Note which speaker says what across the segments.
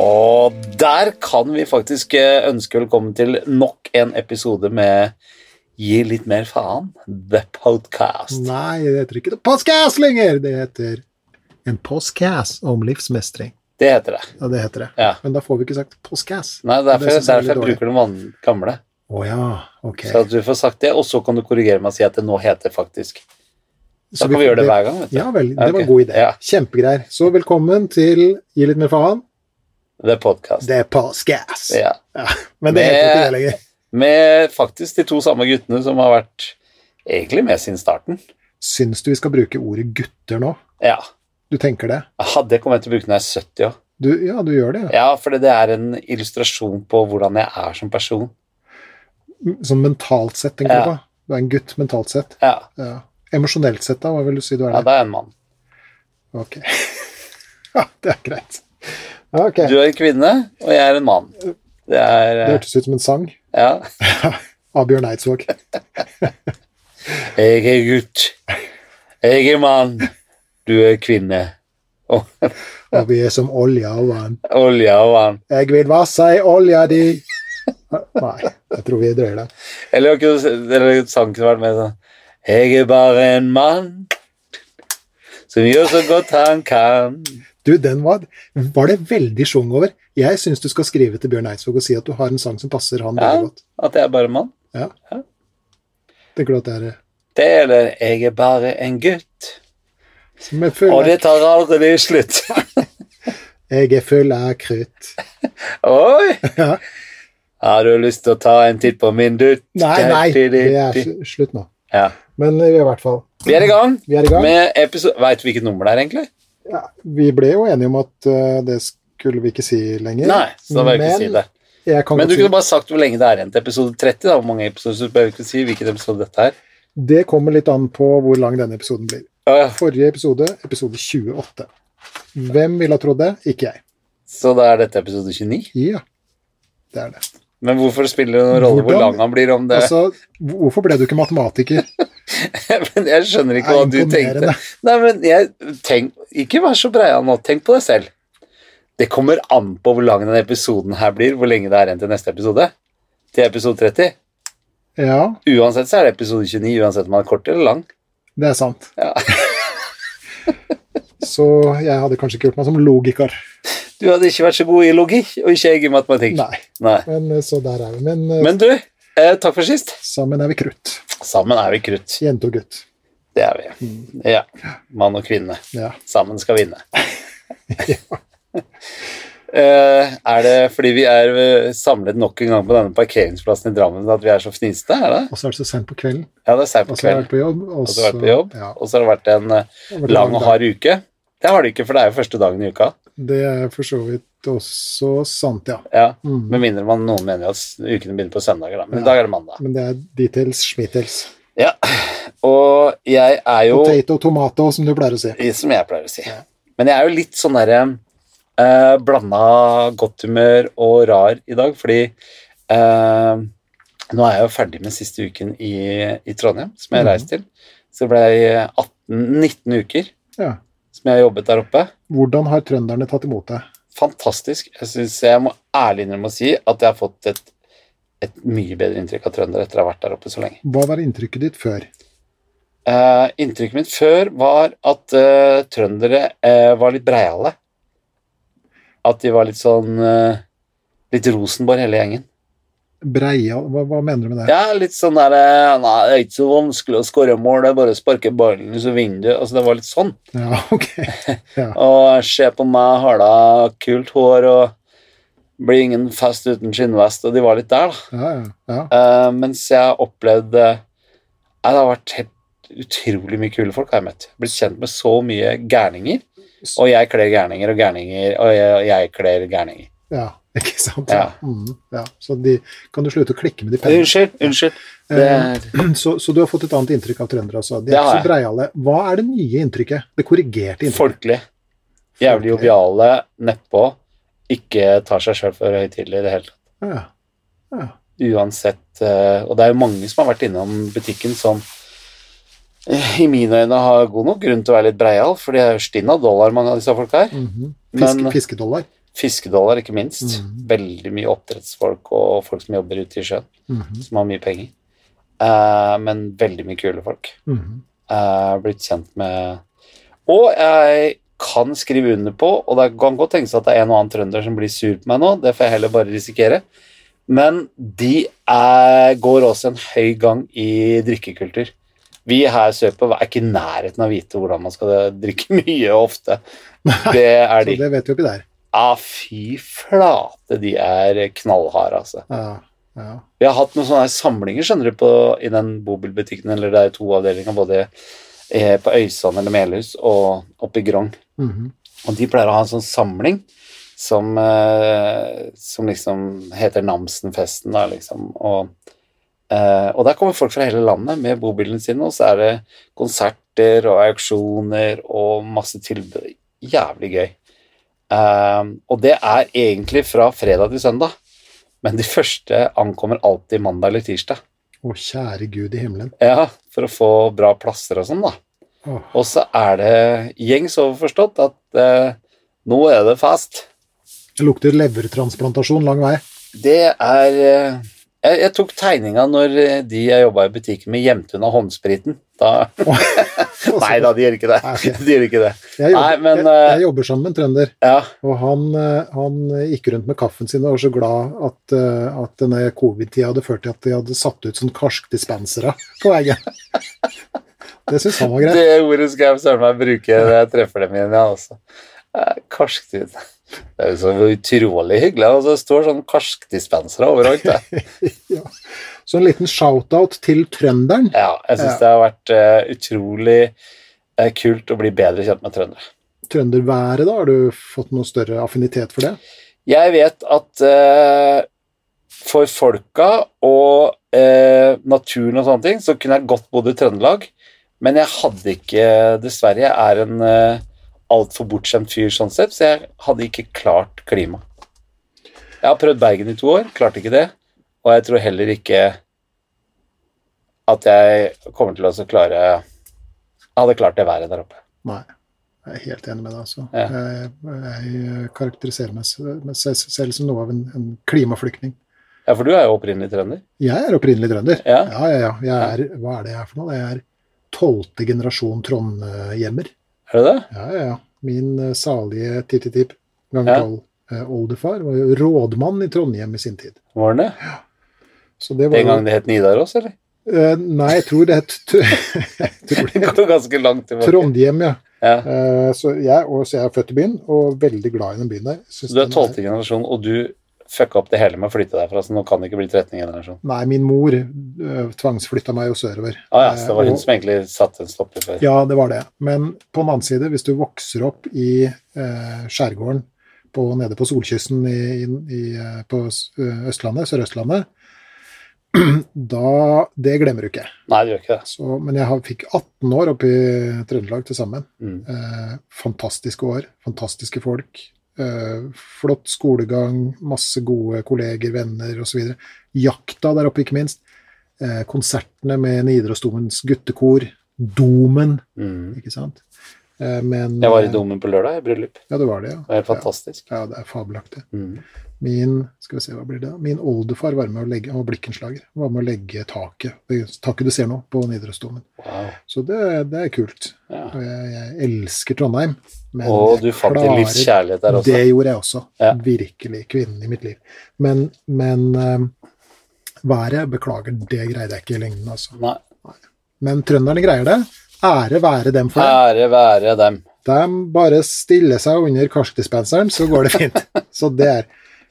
Speaker 1: Og der kan vi faktisk eh, ønske velkommen til nok en episode med Gi litt mer faen, The Podcast.
Speaker 2: Nei, det heter ikke det podcast lenger! Det heter en podcast om livsmestring.
Speaker 1: Det heter det.
Speaker 2: Ja, det heter det.
Speaker 1: Ja.
Speaker 2: Men da får vi ikke sagt podcast.
Speaker 1: Nei, derfor,
Speaker 2: Det synes jeg er
Speaker 1: derfor jeg
Speaker 2: litt
Speaker 1: bruker den van- gamle.
Speaker 2: Å ja, ok.
Speaker 1: Så at du får sagt det, og så kan du korrigere meg og si at det nå heter faktisk Da
Speaker 2: Så
Speaker 1: kan vi gjøre det hver gang, vet du.
Speaker 2: Ja vel, det
Speaker 1: Ja,
Speaker 2: var
Speaker 1: ok.
Speaker 2: en god idé.
Speaker 1: Ja.
Speaker 2: Kjempegreier. Så velkommen til Gi litt mer faen.
Speaker 1: The Podcast.
Speaker 2: Det er podcast.
Speaker 1: Ja.
Speaker 2: Men det
Speaker 1: Det-
Speaker 2: heter ikke det lenger.
Speaker 1: Med faktisk de to samme guttene som har vært egentlig med siden starten.
Speaker 2: Syns du vi skal bruke ordet gutter nå?
Speaker 1: Ja.
Speaker 2: Du tenker det?
Speaker 1: Aha, det kommer jeg til å bruke når jeg er 70 òg.
Speaker 2: Du, ja, du gjør det. ja.
Speaker 1: Ja, for det er en illustrasjon på hvordan jeg er som person.
Speaker 2: Sånn mentalt sett, tenker
Speaker 1: Ja.
Speaker 2: du på. Du er en gutt mentalt sett.
Speaker 1: Ja,
Speaker 2: Ja. Emosjonelt sett, da? Hva vil du si du er?
Speaker 1: ja
Speaker 2: der?
Speaker 1: da er jeg en mann.
Speaker 2: Ok. ja, det er greit. Ok.
Speaker 1: Du er en kvinne, og jeg er en mann. Det er
Speaker 2: Det hørtes ut som en sang
Speaker 1: eh, Ja.
Speaker 2: av Bjørn Eidsvåg.
Speaker 1: Jeg er gutt. Jeg er mann. Du er kvinne.
Speaker 2: Og vi er som olja og vann.
Speaker 1: Olja og vann.
Speaker 2: Jeg vil vasse i olja di. Nei, jeg tror vi drøyer det.
Speaker 1: Eller har ikke du- eller sang kunne vært mer sånn Jeg er bare en mann som gjør så godt han kan.
Speaker 2: Du, den var, var det veldig sjung over. Jeg syns du skal skrive til Bjørn Eidsvåg og si at du har en sang som passer han
Speaker 1: Ja.
Speaker 2: veldig godt.
Speaker 1: At jeg er bare en mann.
Speaker 2: Tenker du at det er
Speaker 1: Det eller Jeg er bare en gutt.
Speaker 2: som er full
Speaker 1: Og
Speaker 2: av,
Speaker 1: det tar aldri slutt.
Speaker 2: Jeg er full av krutt.
Speaker 1: Oi!
Speaker 2: Ja.
Speaker 1: Har du lyst til å ta en titt på min dutt?
Speaker 2: Nei, nei, det er sl- slutt nå.
Speaker 1: Ja.
Speaker 2: Men vi er i hvert fall
Speaker 1: Vi er i gang
Speaker 2: Vi er i gang.
Speaker 1: med episode Veit du hvilket nummer det er, egentlig?
Speaker 2: Ja, vi ble jo enige om at eh, det skulle vi ikke si lenger.
Speaker 1: Nei, så da vil jeg ikke si det.
Speaker 2: Jeg kan
Speaker 1: Men du
Speaker 2: godt si
Speaker 1: kunne bare sagt hvor lenge det er igjen til episode 30. da, hvor mange episoder, så bør jeg ikke si hvilken episode dette er.
Speaker 2: Det kommer litt an på hvor lang denne episoden blir.
Speaker 1: Å, ja.
Speaker 2: Forrige episode, episode 28. Hvem ville ha trodd det? Ikke jeg.
Speaker 1: Så da er dette episode 29.
Speaker 2: Ja, det er det.
Speaker 1: Men hvorfor spiller det noen rolle hvor
Speaker 2: Hvordan-
Speaker 1: lang han blir om det?
Speaker 2: Altså, hvorfor ble du ikke matematiker?
Speaker 1: men jeg skjønner ikke hva
Speaker 2: Nei,
Speaker 1: du tenkte.
Speaker 2: imponerende.
Speaker 1: Nei, men jeg tenk, Ikke vær så breia nå. Tenk på deg selv. Det kommer an på hvor lang denne episoden her blir, hvor lenge det er igjen til neste episode. Til episode 30.
Speaker 2: Ja,
Speaker 1: Uansett så er det episode 29, uansett om den er kort eller lang.
Speaker 2: det er sant.
Speaker 1: Ja.
Speaker 2: Så jeg hadde kanskje ikke gjort meg som logiker.
Speaker 1: Du hadde ikke vært så god i logikk, og ikke jeg i matematikk.
Speaker 2: Nei,
Speaker 1: Nei.
Speaker 2: men eh, så der er vi. Men, eh,
Speaker 1: Men du, eh, takk for sist.
Speaker 2: sammen er vi krutt.
Speaker 1: Sammen er vi krutt.
Speaker 2: Jente og gutt.
Speaker 1: Det er vi. Ja. Mann og kvinne.
Speaker 2: Ja.
Speaker 1: Sammen skal vinne. Eh, er det fordi vi er eh, samlet nok en gang på denne parkeringsplassen i Drammen at vi er så fniste? Er det?
Speaker 2: Og så er det så sent på kvelden.
Speaker 1: Ja, det er seint på
Speaker 2: Og så har
Speaker 1: kvelden.
Speaker 2: jeg vært på jobb. Og
Speaker 1: Og så har du vært på jobb,
Speaker 2: ja,
Speaker 1: og så har det vært en eh,
Speaker 2: det har vært
Speaker 1: lang
Speaker 2: dag.
Speaker 1: og hard uke. Det har det ikke, for det er jo første dagen i uka.
Speaker 2: Det er for så vidt også sant, ja.
Speaker 1: Ja.
Speaker 2: Mm.
Speaker 1: Med mindre man noen mener at s- ukene begynner på søndager, da. Men
Speaker 2: Ja.
Speaker 1: i dag er det mandag.
Speaker 2: Men det er details, schmittels.
Speaker 1: Ja. Og jeg er jo
Speaker 2: Potato, tomato, som du pleier å si.
Speaker 1: Som jeg pleier å si. Men jeg er jo litt sånn derre eh, blanda godt humør og rar i dag, fordi eh, nå er jeg jo ferdig med siste uken i, i Trondheim, som jeg
Speaker 2: Mhm.
Speaker 1: reiste til. Så det ble 18, 19 uker
Speaker 2: Ja.
Speaker 1: som jeg jobbet der oppe.
Speaker 2: Hvordan har trønderne tatt imot deg?
Speaker 1: Fantastisk. Jeg synes jeg må ærlig innrømme å si at jeg har fått et, et mye bedre inntrykk av trøndere etter å ha vært der oppe så lenge.
Speaker 2: Hva var inntrykket ditt før?
Speaker 1: Eh, inntrykket mitt før var at eh, trøndere eh, var litt breiale. At de var litt sånn eh, Litt Rosenborg, hele gjengen.
Speaker 2: Breia Hva, hva mener du med det?
Speaker 1: Ja, litt sånn der eh, Nei, det er ikke så vanskelig å skåre mål, det er bare å sparke ballen, så vinner du. Altså, det var litt sånn.
Speaker 2: Ja, ok.
Speaker 1: Og se på meg, har da kult hår og blir ingen fest uten skinnvest, og de var litt der, da.
Speaker 2: Ja, ja. ja.
Speaker 1: Eh, mens jeg har opplevd eh, Nei, det har vært helt utrolig mye kule folk har jeg møtt. Blitt kjent med så mye gærninger. Og jeg kler gærninger og gærninger, og jeg, og jeg kler gærninger.
Speaker 2: ja. Ikke sant?
Speaker 1: Ja.
Speaker 2: Mm, ja. Så de, kan du slutte å klikke med de pennene?
Speaker 1: Unnskyld, unnskyld. Eh, Det er,
Speaker 2: Så, så du har fått et annet inntrykk av trøndere, altså. De
Speaker 1: Det
Speaker 2: er
Speaker 1: har jeg.
Speaker 2: ikke så breiale. Hva er det nye inntrykket? Det korrigerte inntrykket?
Speaker 1: folkelig. Jævlig
Speaker 2: Folkelig.
Speaker 1: joviale, nedpå. Ikke tar seg sjøl for høytidelig i det hele tatt.
Speaker 2: Ja. Ja.
Speaker 1: Uansett eh, Og det er jo mange som har vært innom butikken som eh, i mine øyne har god nok grunn til å være litt breial, for de er jo stinn av dollar, mange av disse folka her.
Speaker 2: Mhm.
Speaker 1: Men-
Speaker 2: Fiske, fiskedollar.
Speaker 1: Fiskedollar, ikke minst.
Speaker 2: Mhm.
Speaker 1: Veldig mye oppdrettsfolk og folk som jobber ute i sjøen,
Speaker 2: Mhm,
Speaker 1: som har mye penger. Eh, men veldig mye kule folk.
Speaker 2: mhm.
Speaker 1: Eh, blitt kjent med Og jeg kan skrive under på, og det kan godt tenkes at det er en og annen trønder som blir sur på meg nå, det får jeg heller bare risikere. Men de er, går også en høy gang i drikkekultur. Vi her sørpå er ikke i nærheten av å vite hvordan man skal drikke mye og ofte. Det er
Speaker 2: Så
Speaker 1: de.
Speaker 2: det vet vi jo ikke der.
Speaker 1: Ah, fy flate, de er knallharde, altså.
Speaker 2: Ja, ja.
Speaker 1: Vi har hatt noen sånne her samlinger skjønner du, på, i den bobilbutikken, eller det er to avdelinger, både eh, på Øysand eller Melhus og oppe i Grong.
Speaker 2: Mhm,
Speaker 1: Og de pleier å ha en sånn samling som, eh, som liksom heter Namsenfesten, da, liksom. Og, eh, og der kommer folk fra hele landet med bobilene sine, og så er det konserter og auksjoner og masse tilbud. Jævlig gøy. Eh, og det er egentlig fra fredag til søndag, men de første ankommer alltid mandag eller tirsdag.
Speaker 2: Å, kjære Gud i himmelen.
Speaker 1: Ja, for å få bra plasser og sånn, da.
Speaker 2: Åh,
Speaker 1: Og så er det gjengs overforstått at eh, nå er det fest.
Speaker 2: Det lukter levertransplantasjon lang vei.
Speaker 1: Det er eh, jeg, jeg tok tegninga når eh, de jeg jobba i butikken med, gjemte unna håndspriten. Da, nei da, de gjør ikke det.
Speaker 2: Nei, ok.
Speaker 1: De gjør ikke det.
Speaker 2: Jeg jobber,
Speaker 1: Nei, men,
Speaker 2: jeg,
Speaker 1: eh,
Speaker 2: jeg jobber sammen med en trønder,
Speaker 1: Ja,
Speaker 2: og han, eh, han gikk rundt med kaffen sin og var så glad at, eh, at denne covid-tida hadde ført til at de hadde satt ut sånn karskdispensere på veien. Det syns han var greit.
Speaker 1: det ordet skal jeg søren meg bruke når jeg treffer dem igjen, ja, altså. Eh, Karsktid. Det er jo så utrolig hyggelig. Altså, det står sånn karskdispensere overalt. Det.
Speaker 2: Så en liten shout-out til trønderen.
Speaker 1: Ja, jeg syns
Speaker 2: Ja.
Speaker 1: det har vært eh, utrolig eh, kult å bli bedre kjent med trøndere.
Speaker 2: Trønderværet, da? Har du fått noe større affinitet for det?
Speaker 1: Jeg vet at eh, for folka og eh, naturen og sånne ting, så kunne jeg godt bodd i Trøndelag, men jeg hadde ikke Dessverre, jeg er en eh, altfor bortskjemt fyr sånn sett, så jeg hadde ikke klart klima. Jeg har prøvd Bergen i to år, klarte ikke det. Og jeg tror heller ikke at jeg kommer til å så klare Jeg hadde klart det været der oppe.
Speaker 2: Nei. Jeg er helt enig med deg. altså.
Speaker 1: Ja.
Speaker 2: Jeg, jeg karakteriserer meg, s- meg se- selv som noe av en, en klimaflyktning.
Speaker 1: Ja, for du er jo opprinnelig trønder.
Speaker 2: Jeg er opprinnelig trønder.
Speaker 1: Ja.
Speaker 2: Ja, ja, ja. Jeg er, hva er det jeg er for noe? Jeg er tolvte generasjon trondhjemmer.
Speaker 1: Er du det?
Speaker 2: Ja, ja, ja. Min eh, salige tipp-tipp-tipp ganger
Speaker 1: Ja.
Speaker 2: tolv eh, oldefar var jo rådmann i Trondheim i sin tid.
Speaker 1: Var det?
Speaker 2: Så det var
Speaker 1: Den
Speaker 2: jo
Speaker 1: gangen det het Nidaros, eller?
Speaker 2: eh, Nei, jeg tror det het
Speaker 1: Det går jo ganske langt tilbake.
Speaker 2: Trondheim, ja.
Speaker 1: Ja.
Speaker 2: Eh, Så jeg, og, så jeg er født i byen, og veldig glad i den byen der. Synes
Speaker 1: Så du er
Speaker 2: den
Speaker 1: tolvte generasjon, og du fucka opp det hele med å flytte derfra, så nå kan det ikke bli 13. generasjon.
Speaker 2: Nei, min mor eh, tvangsflytta meg jo sørover.
Speaker 1: Ah, ja, så det
Speaker 2: Eh,
Speaker 1: var hun
Speaker 2: og-
Speaker 1: som egentlig satte en stopper for
Speaker 2: Ja, det var det. Men på den annen side, hvis du vokser opp i eh, skjærgården på, nede på solkysten i, i, i, eh, på S- eh, Østlandet, Sør-Østlandet, da Det glemmer du ikke.
Speaker 1: Nei, det gjør ikke det.
Speaker 2: Så, men jeg har, fikk 18 år oppe i Trøndelag til sammen.
Speaker 1: Mm.
Speaker 2: Eh, fantastiske år, fantastiske folk. Eh, flott skolegang, masse gode kolleger, venner osv. Jakta der oppe, ikke minst. Eh, konsertene med Nidarosdomens guttekor. Domen,
Speaker 1: Mm.
Speaker 2: ikke sant. Eh, men
Speaker 1: Jeg var i Domen på lørdag, i bryllup.
Speaker 2: Ja, det var det,
Speaker 1: Det
Speaker 2: ja.
Speaker 1: var helt fantastisk.
Speaker 2: ja det er fabelaktig.
Speaker 1: Mm.
Speaker 2: Min skal vi se, hva blir det? da? Min oldefar var med å legge, han var blikkenslager. Han var med å legge taket, det taket du ser nå, på Nidarosdomen.
Speaker 1: Wow.
Speaker 2: Så det, det er kult.
Speaker 1: Ja.
Speaker 2: Og jeg, jeg elsker Trondheim. Men
Speaker 1: Og du
Speaker 2: jeg
Speaker 1: fant din
Speaker 2: klarer-
Speaker 1: livs kjærlighet der også.
Speaker 2: Det gjorde jeg også.
Speaker 1: Ja.
Speaker 2: Virkelig kvinnen i mitt liv. Men, men eh, været Beklager, det greide jeg ikke i lengden, altså.
Speaker 1: Nei.
Speaker 2: Men trønderne greier det. Ære være dem for det.
Speaker 1: Ære være dem.
Speaker 2: De bare stiller seg under karskdispenseren, så går det fint. så det er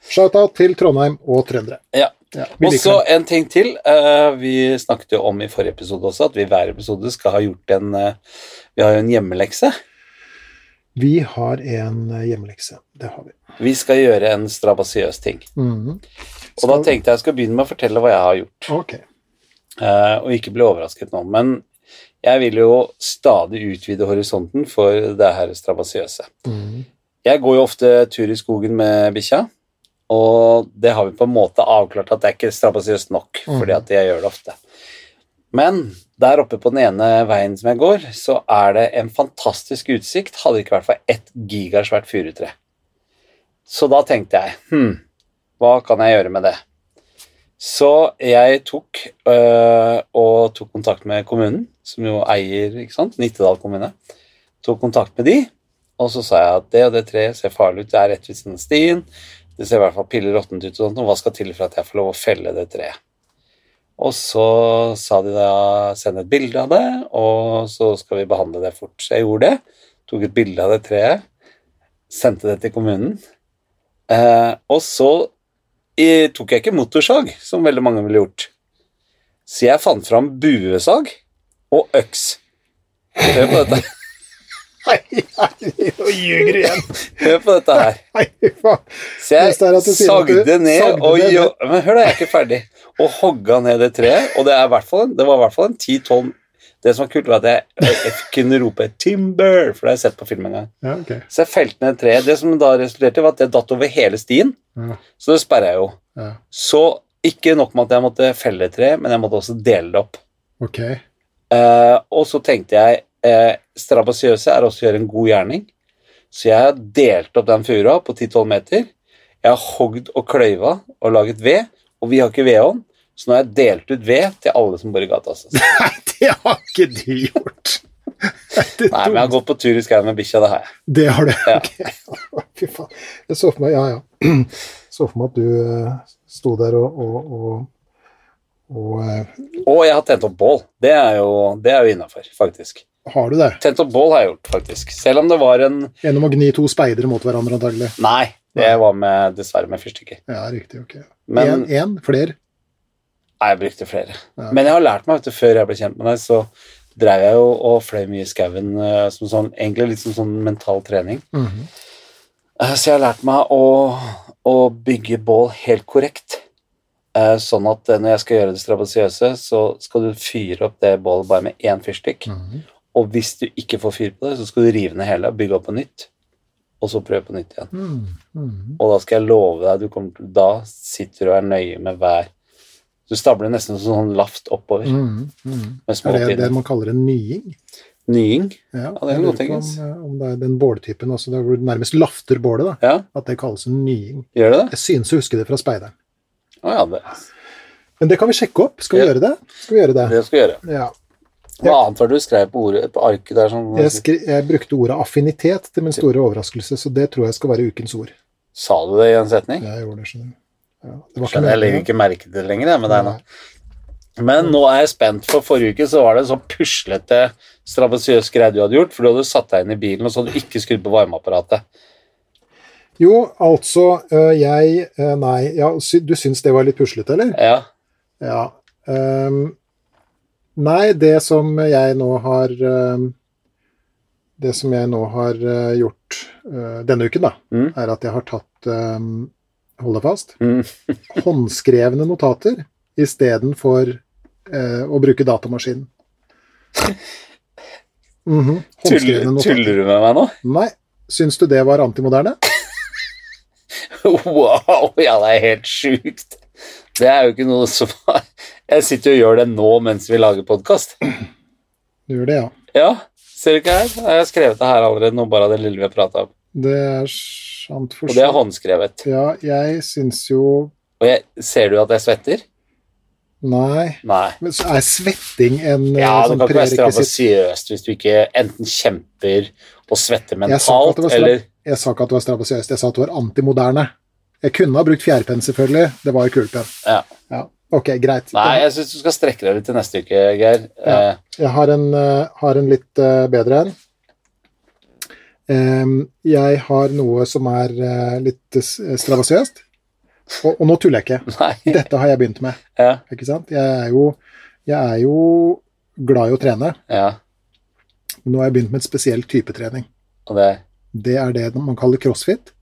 Speaker 2: shout-out til Trondheim og trøndere.
Speaker 1: Ja.
Speaker 2: Ja, vi
Speaker 1: Og
Speaker 2: liker
Speaker 1: så
Speaker 2: dem.
Speaker 1: en ting til. Eh, Vi snakket jo om i forrige episode også at vi i hver episode skal ha gjort en eh, Vi har jo en hjemmelekse.
Speaker 2: Vi har en eh, hjemmelekse. Det har vi.
Speaker 1: Vi skal gjøre en strabasiøs ting.
Speaker 2: Mhm.
Speaker 1: Og da
Speaker 2: Skal-
Speaker 1: tenkte jeg jeg skal begynne med å fortelle hva jeg har gjort.
Speaker 2: Ok.
Speaker 1: Eh, og ikke bli overrasket nå. Men jeg vil jo stadig utvide horisonten for det her strabasiøse.
Speaker 2: Mhm.
Speaker 1: Jeg går jo ofte tur i skogen med bikkja, og det har vi på en måte avklart at det er ikke strabasiøst nok,
Speaker 2: Mhm.
Speaker 1: fordi at jeg gjør det ofte. Men der oppe på den ene veien som jeg går, så er det en fantastisk utsikt, hadde det ikke vært for ett gigasvært furutre. Så da tenkte jeg hm, hva kan jeg gjøre med det? Så jeg tok øh, og tok kontakt med kommunen, som jo eier ikke sant? Nittedal kommune. Tok kontakt med de, og så sa jeg at det og det treet ser farlig ut, det er rett ved siden av stien. Det ser i hvert fall piller råttent ut, og sånt, og hva skal til for at jeg får lov å felle det treet? Og så sa de da send et bilde av det, og så skal vi behandle det fort. Så jeg gjorde det. Tok et bilde av det treet, sendte det til kommunen. Eh, og så eh, tok jeg ikke motorsag, som veldig mange ville gjort. Så jeg fant fram buesag og øks. Hør på dette,
Speaker 2: Nei, nei, nå ljuger du igjen!
Speaker 1: hør på dette her.
Speaker 2: Nei, faen.
Speaker 1: Så jeg
Speaker 2: Neste er at du sier at du
Speaker 1: sagde ned
Speaker 2: sagde
Speaker 1: og
Speaker 2: ned.
Speaker 1: jo, Men hør, da, jeg er ikke ferdig. Og hogga ned det treet. Og det, er i hvert fall, det var i hvert fall en 10 tonn Det som var kult, var at jeg, jeg kunne rope 'Timber', for det har jeg sett på film en gang.
Speaker 2: Ja, ok.
Speaker 1: Så jeg felte ned treet. Det som da resulterte, i, var at det datt over hele stien.
Speaker 2: Ja,
Speaker 1: Så det sperra jeg jo.
Speaker 2: ja.
Speaker 1: Så ikke nok med at jeg måtte felle treet, men jeg måtte også dele det opp.
Speaker 2: Ok.
Speaker 1: Eh, og så tenkte jeg eh, strabasiøse er også å gjøre en god gjerning. Så jeg har delt opp den furua på 10-12 meter. Jeg har hogd og kløyva og laget ved, og vi har ikke vedovn, så nå har jeg delt ut ved til alle som bor i gata. Altså. Nei,
Speaker 2: Nei, det har ikke du gjort! Det,
Speaker 1: men jeg har gått på tur i skauen med bikkja, det har jeg.
Speaker 2: det har du.
Speaker 1: Ja.
Speaker 2: Ok. Fy faen. Jeg så for meg Ja, ja. Så for meg at du eh, sto der og, og, og, og eh,
Speaker 1: Og jeg har tent opp bål. Det er jo, det er jo innafor, faktisk.
Speaker 2: Har du det?
Speaker 1: Tent opp bål har jeg gjort, faktisk. Selv om det var en
Speaker 2: Gjennom å gni to speidere mot hverandre, antagelig.
Speaker 1: Nei, det var med, dessverre med fyrstikker.
Speaker 2: Ja, riktig. ok.
Speaker 1: Men
Speaker 2: En, en, flere.
Speaker 1: Nei, jeg brukte flere.
Speaker 2: Ja.
Speaker 1: Men jeg har lært meg, vet du, før jeg ble kjent med deg, så drev jeg jo og fløy mye i skauen eh, som sånn, egentlig litt som sånn mental trening.
Speaker 2: Mhm.
Speaker 1: Eh, Så jeg har lært meg å, å bygge bål helt korrekt. Eh, Sånn at eh, når jeg skal gjøre det strabasiøse, så skal du fyre opp det bålet bare med én fyrstikk.
Speaker 2: Mhm.
Speaker 1: Og hvis du ikke får fyr på det, så skal du rive ned hele, bygge opp på nytt, og så prøve på nytt igjen.
Speaker 2: Mhm. Mhm.
Speaker 1: Og da skal jeg love deg, du kommer, til- da sitter du og er nøye med hver Du stabler nesten som sånn lavt oppover.
Speaker 2: Mhm. Mhm.
Speaker 1: Med små
Speaker 2: Er det
Speaker 1: pinner.
Speaker 2: det man kaller en nying?
Speaker 1: Nying.
Speaker 2: Ja,
Speaker 1: kan
Speaker 2: jeg lurer
Speaker 1: godt
Speaker 2: på
Speaker 1: tenkes.
Speaker 2: om, eh, om det er den båltypen, altså der hvor du nærmest lafter bålet, da,
Speaker 1: Ja,
Speaker 2: at det kalles en nying.
Speaker 1: gjør det det?
Speaker 2: Jeg synes å huske det fra speideren.
Speaker 1: Å ja, det,
Speaker 2: Men det kan vi sjekke opp. Skal vi
Speaker 1: Ja.
Speaker 2: gjøre det? Skal vi gjøre det?
Speaker 1: det skal jeg gjøre.
Speaker 2: Ja.
Speaker 1: Hva annet var det du skrev på ordet på arket der? Sånn,
Speaker 2: Jeg, skri, jeg brukte ordet affinitet til min store overraskelse, så det tror jeg skal være ukens ord.
Speaker 1: Sa du det i en setning?
Speaker 2: Jeg gjorde det, skjønner du. Ja, det var ikke
Speaker 1: Skjønner, jeg legger
Speaker 2: meningen.
Speaker 1: ikke merke til det lenger. Jeg, med deg nå. Men nå er jeg spent, for forrige uke så var det en sånn puslete, strabasiøs greie du hadde gjort, for du hadde satt deg inn i bilen og så hadde du ikke skrudd på varmeapparatet.
Speaker 2: Jo, altså, øh, jeg øh, Nei, ja, sy, du syns det var litt puslete, eller?
Speaker 1: Ja,
Speaker 2: Ja. Ehm, nei, det som jeg nå har ehm, Det som jeg nå har øh, gjort øh, denne uken, da,
Speaker 1: Mm.
Speaker 2: er at jeg har tatt ehm, Hold deg fast
Speaker 1: Mm.
Speaker 2: håndskrevne notater istedenfor eh, å bruke datamaskinen. Mhm,
Speaker 1: tuller,
Speaker 2: Håndskrevne notater.
Speaker 1: tuller du med meg nå?
Speaker 2: Nei. Syns du det var antimoderne?
Speaker 1: Wow, ja, det er helt sjukt. Det er jo ikke noe som Jeg sitter jo og gjør det nå mens vi lager podkast.
Speaker 2: Du gjør det, ja.
Speaker 1: Ja, ser du ikke her? Jeg har skrevet det her allerede nå, bare av det lille vi har prata om.
Speaker 2: Det er sant for
Speaker 1: Og det er håndskrevet.
Speaker 2: Ja, jeg syns jo
Speaker 1: Og jeg, ser du at jeg svetter?
Speaker 2: Nei.
Speaker 1: Nei.
Speaker 2: Men så er svetting en eh,
Speaker 1: Ja, det
Speaker 2: sånn
Speaker 1: kan ikke være
Speaker 2: prerekvisitt?
Speaker 1: strabasiøst hvis du ikke enten kjemper og svetter
Speaker 2: Jeg sa ikke at
Speaker 1: mentalt,
Speaker 2: det var stra-
Speaker 1: eller
Speaker 2: Jeg sa ikke at det var strabasiøst, jeg sa at det var antimoderne. Jeg kunne ha brukt fjærpenn, selvfølgelig. Det var kulepenn.
Speaker 1: ja.
Speaker 2: Ja. Ok, greit.
Speaker 1: Nei, jeg syns du skal strekke deg litt til neste uke, Geir.
Speaker 2: Ja.
Speaker 1: Eh,
Speaker 2: Jeg har en, eh, har en litt eh, bedre en. Em, jeg har noe som er eh, litt eh, strabasiøst. Og, og nå tuller jeg ikke.
Speaker 1: nei.
Speaker 2: Dette har jeg begynt med.
Speaker 1: Ja,
Speaker 2: ikke sant? Jeg er jo, jeg er jo glad i å trene,
Speaker 1: ja.
Speaker 2: men nå har jeg begynt med en spesiell type trening.
Speaker 1: Og det
Speaker 2: Det er det man kaller crossfit.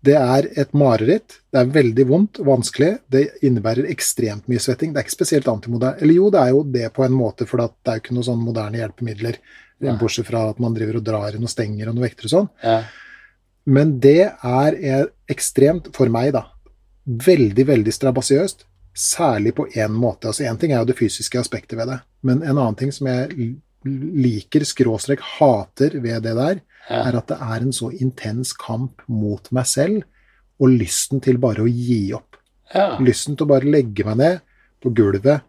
Speaker 2: Det er et mareritt. Det er veldig vondt, vanskelig. Det innebærer ekstremt mye svetting. Det er ikke spesielt antimoderne. Eller jo, det er jo det på en måte, for at det er jo ikke noen sånne moderne hjelpemidler,
Speaker 1: Nei.
Speaker 2: bortsett fra at man driver og drar i noen stenger og noen vekter og sånn.
Speaker 1: ja.
Speaker 2: Men det er eh, ekstremt, for meg da, veldig, veldig strabasiøst. Særlig på én måte. Altså Én ting er jo det fysiske aspektet ved det, men en annen ting som jeg l- liker, skråstrek hater ved det der,
Speaker 1: Ja.
Speaker 2: er at det er en så intens kamp mot meg selv, og lysten til bare å gi opp.
Speaker 1: Ja.
Speaker 2: Lysten til å bare legge meg ned på gulvet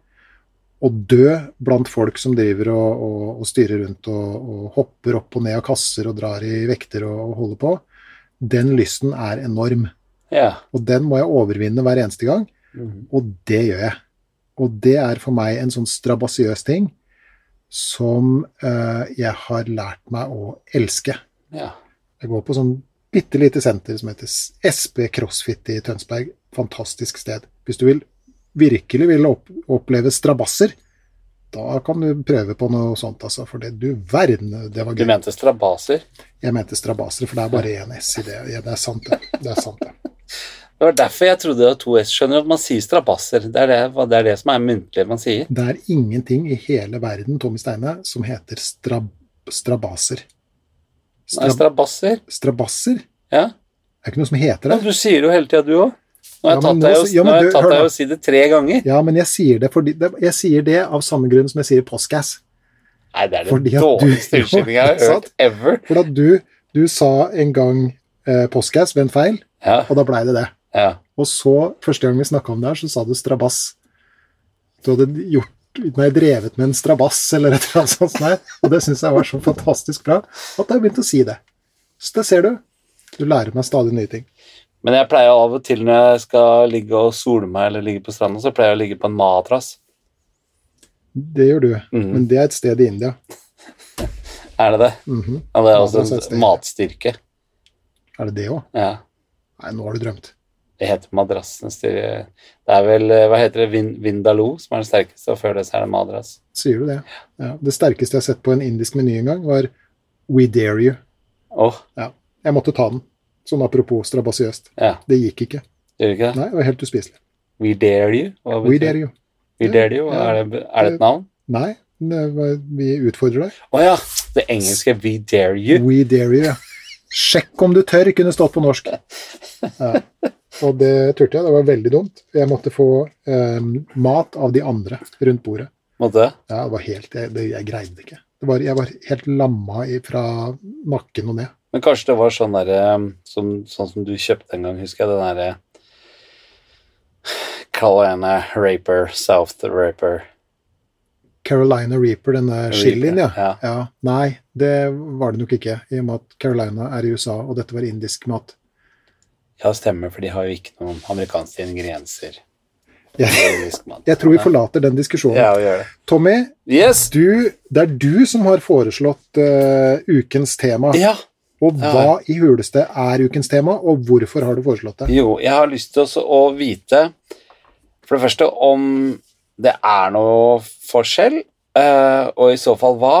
Speaker 2: og dø blant folk som driver og, og, og styrer rundt og, og hopper opp og ned av kasser og drar i vekter og, og holder på. Den lysten er enorm,
Speaker 1: ja.
Speaker 2: og den må jeg overvinne hver eneste gang.
Speaker 1: Mhm.
Speaker 2: Og det gjør jeg. Og det er for meg en sånn strabasiøs ting som eh, jeg har lært meg å elske.
Speaker 1: ja.
Speaker 2: Jeg går på sånn bitte lite senter som heter SB Crossfit i Tønsberg. Fantastisk sted. Hvis du vil, virkelig vil opp, oppleve strabasser, da kan du prøve på noe sånt, altså. For det du verden, det var
Speaker 1: Du
Speaker 2: gøy.
Speaker 1: mente strabaser.
Speaker 2: Jeg mente strabasser, for det er bare én S i det. Ja, det er sant, det. Det er sant, det.
Speaker 1: Det var derfor jeg trodde det var to S. Skjønner du at man sier strabasser? Det er det, det, er det som er muntlig man sier.
Speaker 2: Det er ingenting i hele verden, Tommy Steine, som heter strab strabaser.
Speaker 1: Nei,
Speaker 2: Strab
Speaker 1: strabasser.
Speaker 2: strabasser?
Speaker 1: Ja.
Speaker 2: Det er ikke noe som heter
Speaker 1: Ja,
Speaker 2: det.
Speaker 1: du sier jo hele tida, du òg. Nå har
Speaker 2: Ja,
Speaker 1: jeg
Speaker 2: men
Speaker 1: tatt deg
Speaker 2: nå
Speaker 1: å-
Speaker 2: si- ja,
Speaker 1: nå
Speaker 2: men
Speaker 1: har jeg
Speaker 2: du-
Speaker 1: tatt
Speaker 2: hør
Speaker 1: deg
Speaker 2: da.
Speaker 1: å si det tre ganger.
Speaker 2: Ja, men jeg sier det, fordi, det- jeg sier det av samme grunn som jeg sier postgass.
Speaker 1: Nei, det er
Speaker 2: Fordi at
Speaker 1: den
Speaker 2: du-
Speaker 1: dårligste unnskyldningen jeg har
Speaker 2: Ikke sant?
Speaker 1: hørt ever.
Speaker 2: For at du, du sa en gang eh, postgass ved en feil,
Speaker 1: Ja,
Speaker 2: og da blei det det.
Speaker 1: ja.
Speaker 2: Og så, første gang vi snakka om det her, så sa du strabass. Du hadde gjort Nei, drevet med en strabass eller et eller annet sånt. Nei. Og det syns jeg var så fantastisk bra at jeg har begynt å si det. Så det ser du. Du lærer meg stadig nye ting.
Speaker 1: Men jeg pleier av og til når jeg skal ligge og sole meg eller ligge på stranda, så pleier jeg å ligge på en madrass.
Speaker 2: Det gjør du.
Speaker 1: Mhm.
Speaker 2: Men det er et sted i India.
Speaker 1: Er det det?
Speaker 2: Mhm.
Speaker 1: Ja, det er
Speaker 2: Madrass er et
Speaker 1: altså
Speaker 2: sted.
Speaker 1: en matstyrke.
Speaker 2: Er det det òg?
Speaker 1: Ja.
Speaker 2: Nei, nå har du drømt.
Speaker 1: Det heter madrassens styre. Det er vel eh, hva heter det, Vin Vindaloo som er den sterkeste, og før det så er det madrass.
Speaker 2: Sier du det? Ja. Det sterkeste jeg har sett på en indisk meny en gang, var We Dare You.
Speaker 1: Åh,
Speaker 2: Jeg måtte ta den. Sånn apropos strabasiøst.
Speaker 1: ja.
Speaker 2: Det gikk ikke.
Speaker 1: Gjør det ikke det?
Speaker 2: Nei, det var helt uspiselig.
Speaker 1: We dare you? Hva
Speaker 2: We
Speaker 1: betyr det?
Speaker 2: Dare You.
Speaker 1: We dare you?
Speaker 2: Ja.
Speaker 1: Er, det, er det et navn?
Speaker 2: Nei, det var- vi utfordrer deg.
Speaker 1: Å ja, det engelske We dare you.
Speaker 2: We dare you. ja. Sjekk om du tør, kunne stått på norsk. Ja. Og det turte jeg. Det var veldig dumt. Jeg måtte få eh, mat av de andre rundt bordet.
Speaker 1: Måte.
Speaker 2: Ja, det var helt, jeg, det, jeg greide det ikke. Det var, jeg var helt lamma i, fra nakken og ned.
Speaker 1: Men kanskje det var sånn derre som, Sånn som du kjøpte en gang, husker jeg, den derre Carolina Raper, South Raper.
Speaker 2: Carolina Reaper, denne chilien, ja.
Speaker 1: Ja.
Speaker 2: ja. Nei, det var det nok ikke, i og med at Carolina er i USA, og dette var indisk mat.
Speaker 1: Ja, stemmer, for de har jo ikke noen amerikanske ingredienser.
Speaker 2: Ja. Jeg tror vi forlater den diskusjonen.
Speaker 1: Ja, vi gjør det.
Speaker 2: Tommy,
Speaker 1: Yes!
Speaker 2: du, det er du som har foreslått eh, ukens tema.
Speaker 1: Ja!
Speaker 2: Og
Speaker 1: Ja.
Speaker 2: hva i huleste er ukens tema, og hvorfor har du foreslått det?
Speaker 1: Jo, jeg har lyst til også å vite for det første om det er noe forskjell, eh, og i så fall hva.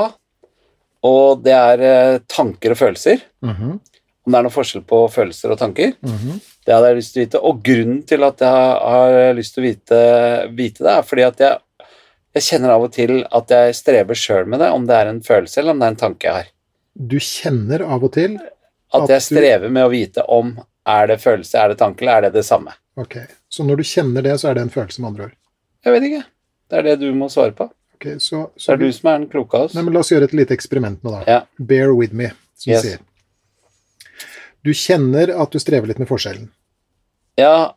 Speaker 1: Og det er eh, tanker og følelser.
Speaker 2: Mhm,
Speaker 1: Om det er noe forskjell på følelser og tanker.
Speaker 2: mhm.
Speaker 1: Det hadde jeg lyst til å vite. Og grunnen til at jeg har har lyst til å vite, vite det, er fordi at jeg, jeg kjenner av og til at jeg strever sjøl med det, om det er en følelse eller om det er en tanke jeg har.
Speaker 2: Du kjenner av og til
Speaker 1: At
Speaker 2: At
Speaker 1: jeg
Speaker 2: du-
Speaker 1: strever med å vite om er det følelse, er det tanke, eller er det det samme.
Speaker 2: Ok, så når du kjenner det, så er det en følelse, med andre ord.
Speaker 1: Jeg vet ikke. Det er det du må svare på.
Speaker 2: Ok, så,
Speaker 1: Så
Speaker 2: så
Speaker 1: er det du som er den kloke av oss.
Speaker 2: Nei, men La oss gjøre et lite eksperiment nå, da.
Speaker 1: Ja.
Speaker 2: Bear with me, som
Speaker 1: Yes.
Speaker 2: du sier. Du kjenner at du strever litt med forskjellen.
Speaker 1: Ja,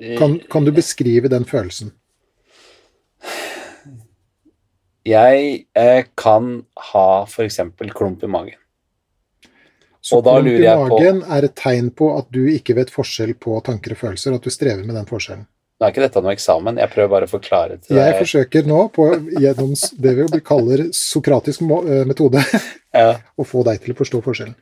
Speaker 1: eh,
Speaker 2: Kan, kan du beskrive den følelsen?
Speaker 1: jeg eh, kan ha f.eks. klump i magen.
Speaker 2: Så
Speaker 1: Og da
Speaker 2: klump i
Speaker 1: lurer jeg på-
Speaker 2: magen er et tegn på at du ikke vet forskjell på tanker og følelser, at du strever med den forskjellen.
Speaker 1: Nå er ikke dette noe eksamen, jeg prøver bare å forklare til
Speaker 2: Jeg
Speaker 1: deg.
Speaker 2: forsøker nå, på, gjennom s- det vi kaller sokratisk må- eh, metode,
Speaker 1: Ja,
Speaker 2: å få deg til å forstå forskjellen.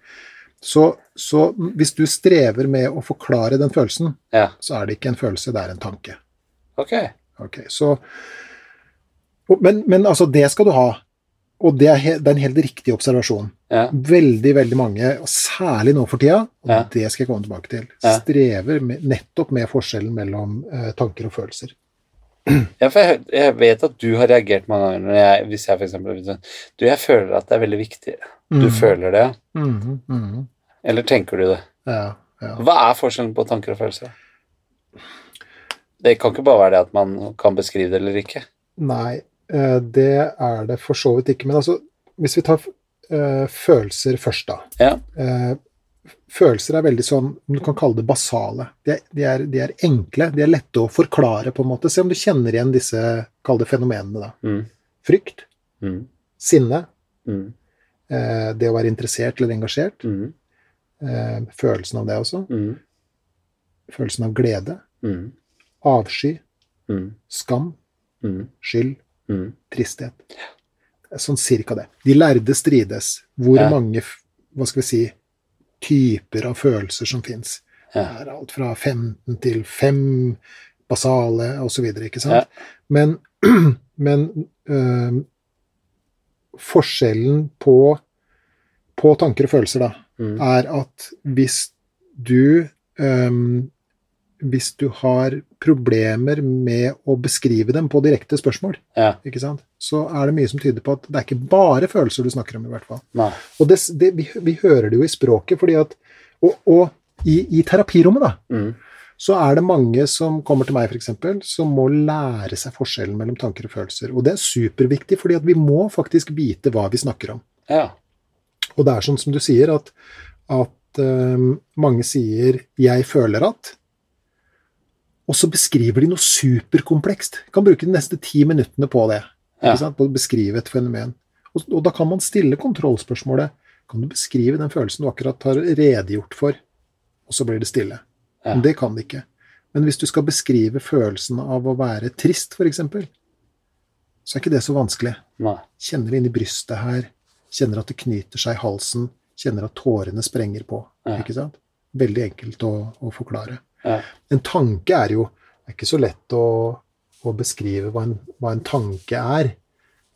Speaker 2: Så, så hvis du strever med å forklare den følelsen,
Speaker 1: ja.
Speaker 2: så er det ikke en følelse, det er en tanke.
Speaker 1: Ok.
Speaker 2: Ok, så Og- men, men altså, det skal du ha. Og det er, he, det er en helt riktig observasjon.
Speaker 1: Ja.
Speaker 2: Veldig, veldig mange, og særlig nå for tida, og
Speaker 1: Ja.
Speaker 2: det skal jeg komme tilbake til,
Speaker 1: Ja.
Speaker 2: strever med, nettopp med forskjellen mellom eh, tanker og følelser.
Speaker 1: Ja, for jeg, jeg vet at du har reagert mange ganger når jeg, hvis jeg for eksempel sånn, Du, jeg føler at det er veldig viktig. Du
Speaker 2: Mhm.
Speaker 1: føler det,
Speaker 2: Mhm, mhm.
Speaker 1: eller tenker du det?
Speaker 2: Ja, ja.
Speaker 1: Hva er forskjellen på tanker og følelser? Det kan ikke bare være det at man kan beskrive det eller ikke.
Speaker 2: Nei, eh, det er det for så vidt ikke. Men altså, hvis vi tar f- eh, følelser først, da.
Speaker 1: Ja.
Speaker 2: Eh, følelser er veldig sånn Du kan kalle det basale. De er, de, er, de er enkle, de er lette å forklare, på en måte. Se om du kjenner igjen disse kall det fenomenene. da.
Speaker 1: Mm.
Speaker 2: Frykt,
Speaker 1: Mm.
Speaker 2: sinne,
Speaker 1: Mm.
Speaker 2: eh, det å være interessert eller engasjert.
Speaker 1: Mm.
Speaker 2: Eh, følelsen av det også.
Speaker 1: Mm.
Speaker 2: Følelsen av glede.
Speaker 1: Mm.
Speaker 2: Avsky,
Speaker 1: Mm.
Speaker 2: skam,
Speaker 1: Mm.
Speaker 2: skyld,
Speaker 1: Mm.
Speaker 2: tristhet. Sånn cirka det. De lærde strides. Hvor
Speaker 1: Ja.
Speaker 2: mange, f- hva skal vi si, typer av følelser som fins. Det
Speaker 1: Ja.
Speaker 2: er alt fra 15 til 5 basale osv., ikke sant? Men, men øhm, forskjellen på, på tanker og følelser, da,
Speaker 1: Mm.
Speaker 2: er at hvis du øhm, Hvis du har problemer med å beskrive dem på direkte spørsmål,
Speaker 1: Ja.
Speaker 2: ikke sant? så er det mye som tyder på at det er ikke bare følelser du snakker om. i hvert fall.
Speaker 1: Nei.
Speaker 2: Og det, det, vi, vi hører det jo i språket, fordi at, og, og i, i terapirommet da,
Speaker 1: Mm.
Speaker 2: så er det mange som kommer til meg for eksempel, som må lære seg forskjellen mellom tanker og følelser. Og det er superviktig, fordi at vi må faktisk vite hva vi snakker om.
Speaker 1: Ja.
Speaker 2: Og det er sånn som du sier, at, at øhm, mange sier 'jeg føler at', og så beskriver de noe superkomplekst. Kan bruke de neste ti minuttene på det.
Speaker 1: Ja.
Speaker 2: Ikke sant? På å beskrive et fenomen. Og, og da kan man stille kontrollspørsmålet Kan du beskrive den følelsen du akkurat har redegjort for? Og så blir det stille.
Speaker 1: Ja.
Speaker 2: Men det kan det ikke. Men hvis du skal beskrive følelsen av å være trist, f.eks., så er ikke det så vanskelig.
Speaker 1: Nei.
Speaker 2: Kjenner det inni brystet her. Kjenner at det knyter seg i halsen. Kjenner at tårene sprenger på.
Speaker 1: Ja.
Speaker 2: Ikke sant? Veldig enkelt å, å forklare.
Speaker 1: Ja.
Speaker 2: En tanke er jo Det er ikke så lett å, å beskrive hva en, hva en tanke er.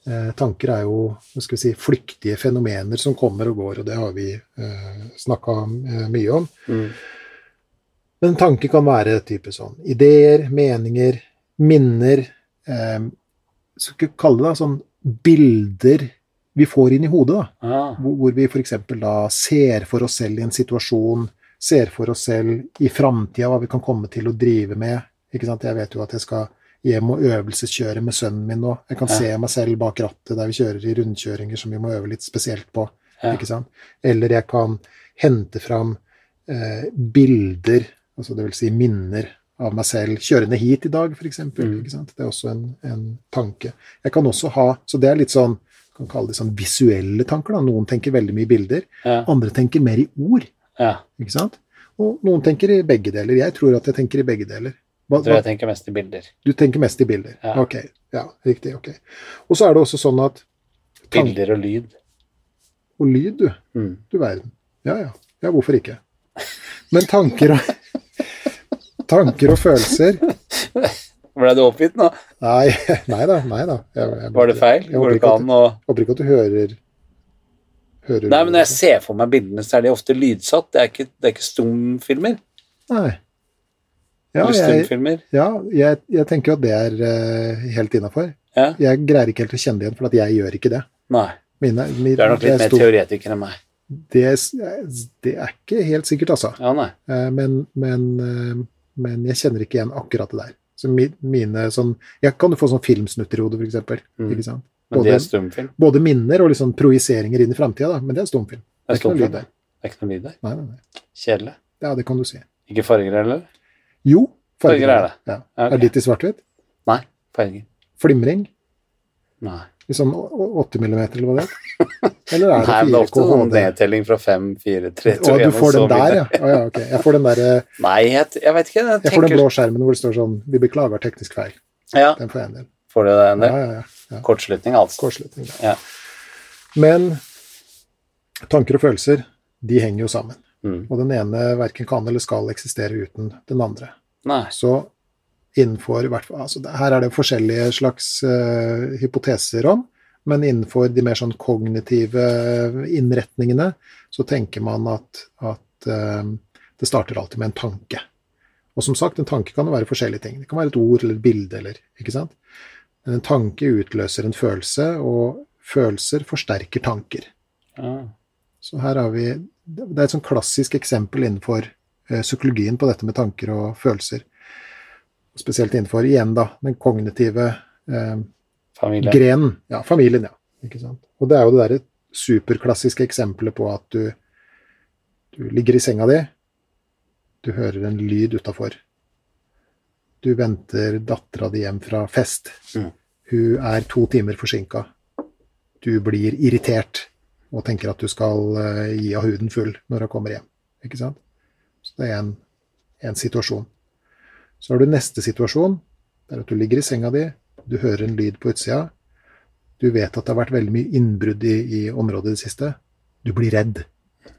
Speaker 2: Eh, tanker er jo hva skal vi si, flyktige fenomener som kommer og går, og det har vi eh, snakka eh, mye om.
Speaker 1: Mm.
Speaker 2: Men en tanke kan være type sånn ideer, meninger, minner eh, Skal vi kalle det da, sånn bilder vi får inn i hodet. da,
Speaker 1: Ah.
Speaker 2: Hvor, hvor vi f.eks. da ser for oss selv i en situasjon, ser for oss selv i framtida hva vi kan komme til å drive med. ikke sant, Jeg vet jo at jeg skal hjem og øvelseskjøre med sønnen min nå. Jeg kan
Speaker 1: Ja.
Speaker 2: se meg selv bak rattet der vi kjører i rundkjøringer som vi må øve litt spesielt på.
Speaker 1: Ja.
Speaker 2: Ikke sant? Eller jeg kan hente fram eh, bilder, altså det vil si minner av meg selv, kjørende hit i dag, f.eks.
Speaker 1: Mm.
Speaker 2: sant? Det er også en, en tanke. Jeg kan også ha Så det er litt sånn kan kalle det sånn visuelle tanker. da. Noen tenker veldig mye i bilder,
Speaker 1: Ja.
Speaker 2: andre tenker mer i ord.
Speaker 1: ja.
Speaker 2: ikke sant? Og noen tenker i begge deler. Jeg tror at jeg tenker i begge deler. Hva,
Speaker 1: Jeg tror
Speaker 2: hva,
Speaker 1: jeg tenker mest i bilder.
Speaker 2: du tenker mest i bilder.
Speaker 1: Ja.
Speaker 2: Ok. Ja, riktig. ok. Og så er det også sånn at tank
Speaker 1: Bilder og lyd.
Speaker 2: og lyd, du.
Speaker 1: Mm.
Speaker 2: Du verden. Ja, ja. Ja, hvorfor ikke? Men tanker og Tanker og følelser
Speaker 1: Ble du oppgitt nå?
Speaker 2: Nei, nei da. Nei da. Jeg, jeg,
Speaker 1: Var det feil?
Speaker 2: Jeg
Speaker 1: Går
Speaker 2: håper
Speaker 1: det
Speaker 2: ikke
Speaker 1: ikke
Speaker 2: at,
Speaker 1: an å
Speaker 2: jeg håper ikke at du hører, hører
Speaker 1: Nei, men når jeg ser for meg bildene, så er de ofte lydsatt. Det er ikke, det er ikke stumfilmer.
Speaker 2: Nei. Ja,
Speaker 1: Eller
Speaker 2: jeg,
Speaker 1: stumfilmer.
Speaker 2: ja jeg, jeg tenker jo at det er eh, helt innafor.
Speaker 1: Ja.
Speaker 2: Jeg greier ikke helt å kjenne det igjen, for at jeg gjør ikke det.
Speaker 1: Nei.
Speaker 2: Mine, mine,
Speaker 1: Du er nok
Speaker 2: jeg
Speaker 1: litt mer
Speaker 2: sto-
Speaker 1: teoretiker enn meg.
Speaker 2: det, er- det er ikke helt sikkert, altså.
Speaker 1: Ja, nei.
Speaker 2: Eh, Men, men, eh, men jeg kjenner ikke igjen akkurat det der. Så mi- mine sånn Jeg kan jo få sånn filmsnutter i hodet, for eksempel.
Speaker 1: Mm.
Speaker 2: Ikke sant?
Speaker 1: Men det
Speaker 2: Både,
Speaker 1: er stumfilm.
Speaker 2: både minner og liksom projiseringer inn i framtida, men det er stumfilm.
Speaker 1: Det er
Speaker 2: ikke noe lyd
Speaker 1: stumfilm.
Speaker 2: der.
Speaker 1: Det er ikke noe lyd der.
Speaker 2: Nei, nei, nei.
Speaker 1: Kjedelig.
Speaker 2: Ja, det kan du si.
Speaker 1: Ikke farger heller?
Speaker 2: Jo,
Speaker 1: Farger er det.
Speaker 2: Ja.
Speaker 1: Ja, ok.
Speaker 2: Er ditt i svart-hvitt?
Speaker 1: Nei. Farger.
Speaker 2: Flimring?
Speaker 1: Nei.
Speaker 2: I sånn å- å- 8 mm, eller hva det er? Eller
Speaker 1: Nei, men
Speaker 2: er det
Speaker 1: det er
Speaker 2: 4
Speaker 1: ofte sånn
Speaker 2: KHD?
Speaker 1: nedtelling fra fem, fire, tre, to,
Speaker 2: Å, du
Speaker 1: en, og
Speaker 2: får
Speaker 1: så
Speaker 2: den der,
Speaker 1: videre.
Speaker 2: ja. Å, ja ok. Jeg får den der, eh,
Speaker 1: Nei, jeg, jeg vet ikke. Jeg
Speaker 2: jeg får den
Speaker 1: tenker
Speaker 2: blå skjermen hvor det står sånn 'Vi beklager teknisk feil'.
Speaker 1: Ja,
Speaker 2: Den får jeg en del.
Speaker 1: får du det en del?
Speaker 2: Ja, ja, ja. ja.
Speaker 1: Kortslutning, altså.
Speaker 2: Kortslutning. da.
Speaker 1: Ja.
Speaker 2: Men tanker og følelser, de henger jo sammen.
Speaker 1: Mm.
Speaker 2: Og den ene verken kan eller skal eksistere uten den andre.
Speaker 1: Nei.
Speaker 2: Så innenfor hvert fall altså, det- Her er det forskjellige slags eh, hypoteser om, men innenfor de mer sånn kognitive eh, innretningene så tenker man at, at eh, det starter alltid med en tanke. Og som sagt, en tanke kan jo være forskjellige ting. Det kan være et ord eller et bilde eller Ikke sant? Men en tanke utløser en følelse, og følelser forsterker tanker.
Speaker 1: Ja.
Speaker 2: Så her har vi Det er et sånn klassisk eksempel innenfor eh, psykologien på dette med tanker og følelser. Spesielt innenfor, igjen da, den kognitive eh,
Speaker 1: Familie.
Speaker 2: grenen. Ja, familien, ja. Ikke sant? Og det er jo det derre superklassiske eksempelet på at du, du ligger i senga di, du hører en lyd utafor. Du venter dattera di hjem fra fest.
Speaker 1: Mm.
Speaker 2: Hun er to timer forsinka. Du blir irritert og tenker at du skal eh, gi av huden full når hun kommer hjem. Ikke sant? Så det er en, en situasjon. Så har du neste situasjon. Det er at du ligger i senga di, du hører en lyd på utsida. Du vet at det har vært veldig mye innbrudd i, i området i det siste. Du blir redd.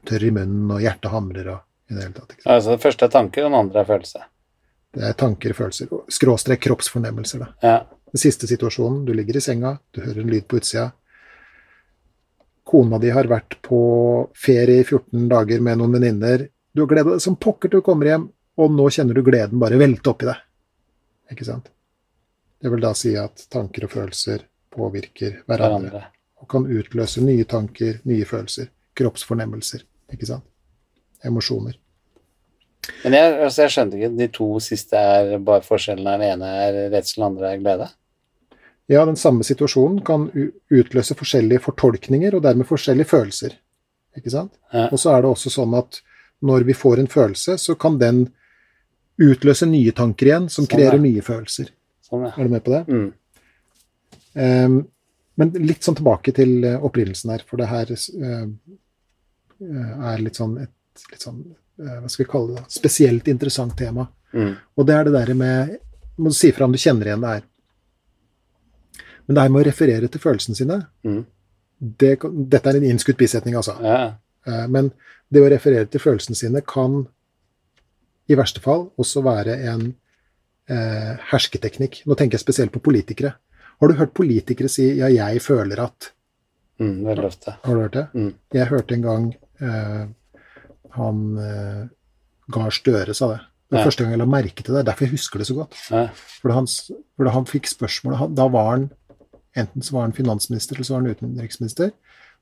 Speaker 2: Tørr i munnen, og hjertet hamrer og i det hele tatt. Ikke sant?
Speaker 1: Altså, det første er tanke, den andre er følelse.
Speaker 2: Det er tanker, følelser og skråstrek kroppsfornemmelser. da.
Speaker 1: Ja.
Speaker 2: Den siste situasjonen. Du ligger i senga, du hører en lyd på utsida. Kona di har vært på ferie i 14 dager med noen venninner. Du har gleda deg som pokker til du kommer hjem, og nå kjenner du gleden bare velte oppi deg. Ikke sant? Det vil da si at tanker og følelser påvirker hverandre
Speaker 1: Hverandre.
Speaker 2: og kan utløse nye tanker, nye følelser, kroppsfornemmelser, ikke sant? Emosjoner.
Speaker 1: Men jeg, altså, jeg skjønte ikke. De to siste er bare forskjellen. er Den ene er redsel, den andre er glede.
Speaker 2: Ja, den samme situasjonen kan u- utløse forskjellige fortolkninger og dermed forskjellige følelser. Ikke sant?
Speaker 1: Ja.
Speaker 2: Og så er det også sånn at når vi får en følelse, så kan den utløse nye tanker igjen, som
Speaker 1: Sånn,
Speaker 2: kreerer
Speaker 1: ja.
Speaker 2: nye følelser.
Speaker 1: Sånn, ja.
Speaker 2: Er du med på det?
Speaker 1: Mm.
Speaker 2: Ehm, men litt sånn tilbake til eh, opprinnelsen her, for det her eh, er litt sånn et litt sånn, eh, hva skal vi kalle det, spesielt interessant tema.
Speaker 1: Mm.
Speaker 2: Og det er det der med Må du si fra om du kjenner igjen det her. Men det her med å referere til følelsene sine
Speaker 1: Mm.
Speaker 2: det, kan- Dette er en innskutt bisetning, altså.
Speaker 1: Ja.
Speaker 2: Eh, Men det å referere til følelsene sine kan i verste fall også være en eh, hersketeknikk. Nå tenker jeg spesielt på politikere. Har du hørt politikere si 'ja, jeg føler at'
Speaker 1: Mm. Veldig ofte.
Speaker 2: Har du hørt det?
Speaker 1: Mm.
Speaker 2: Jeg hørte en gang eh, han eh, Gahr Støre sa det. Det var
Speaker 1: Ja.
Speaker 2: første gang jeg la merke til det. Derfor jeg husker det så godt.
Speaker 1: Ja.
Speaker 2: Fordi han, s- fordi han fikk spørsmålet han, Da var han enten så var han finansminister, eller så var han utenriksminister.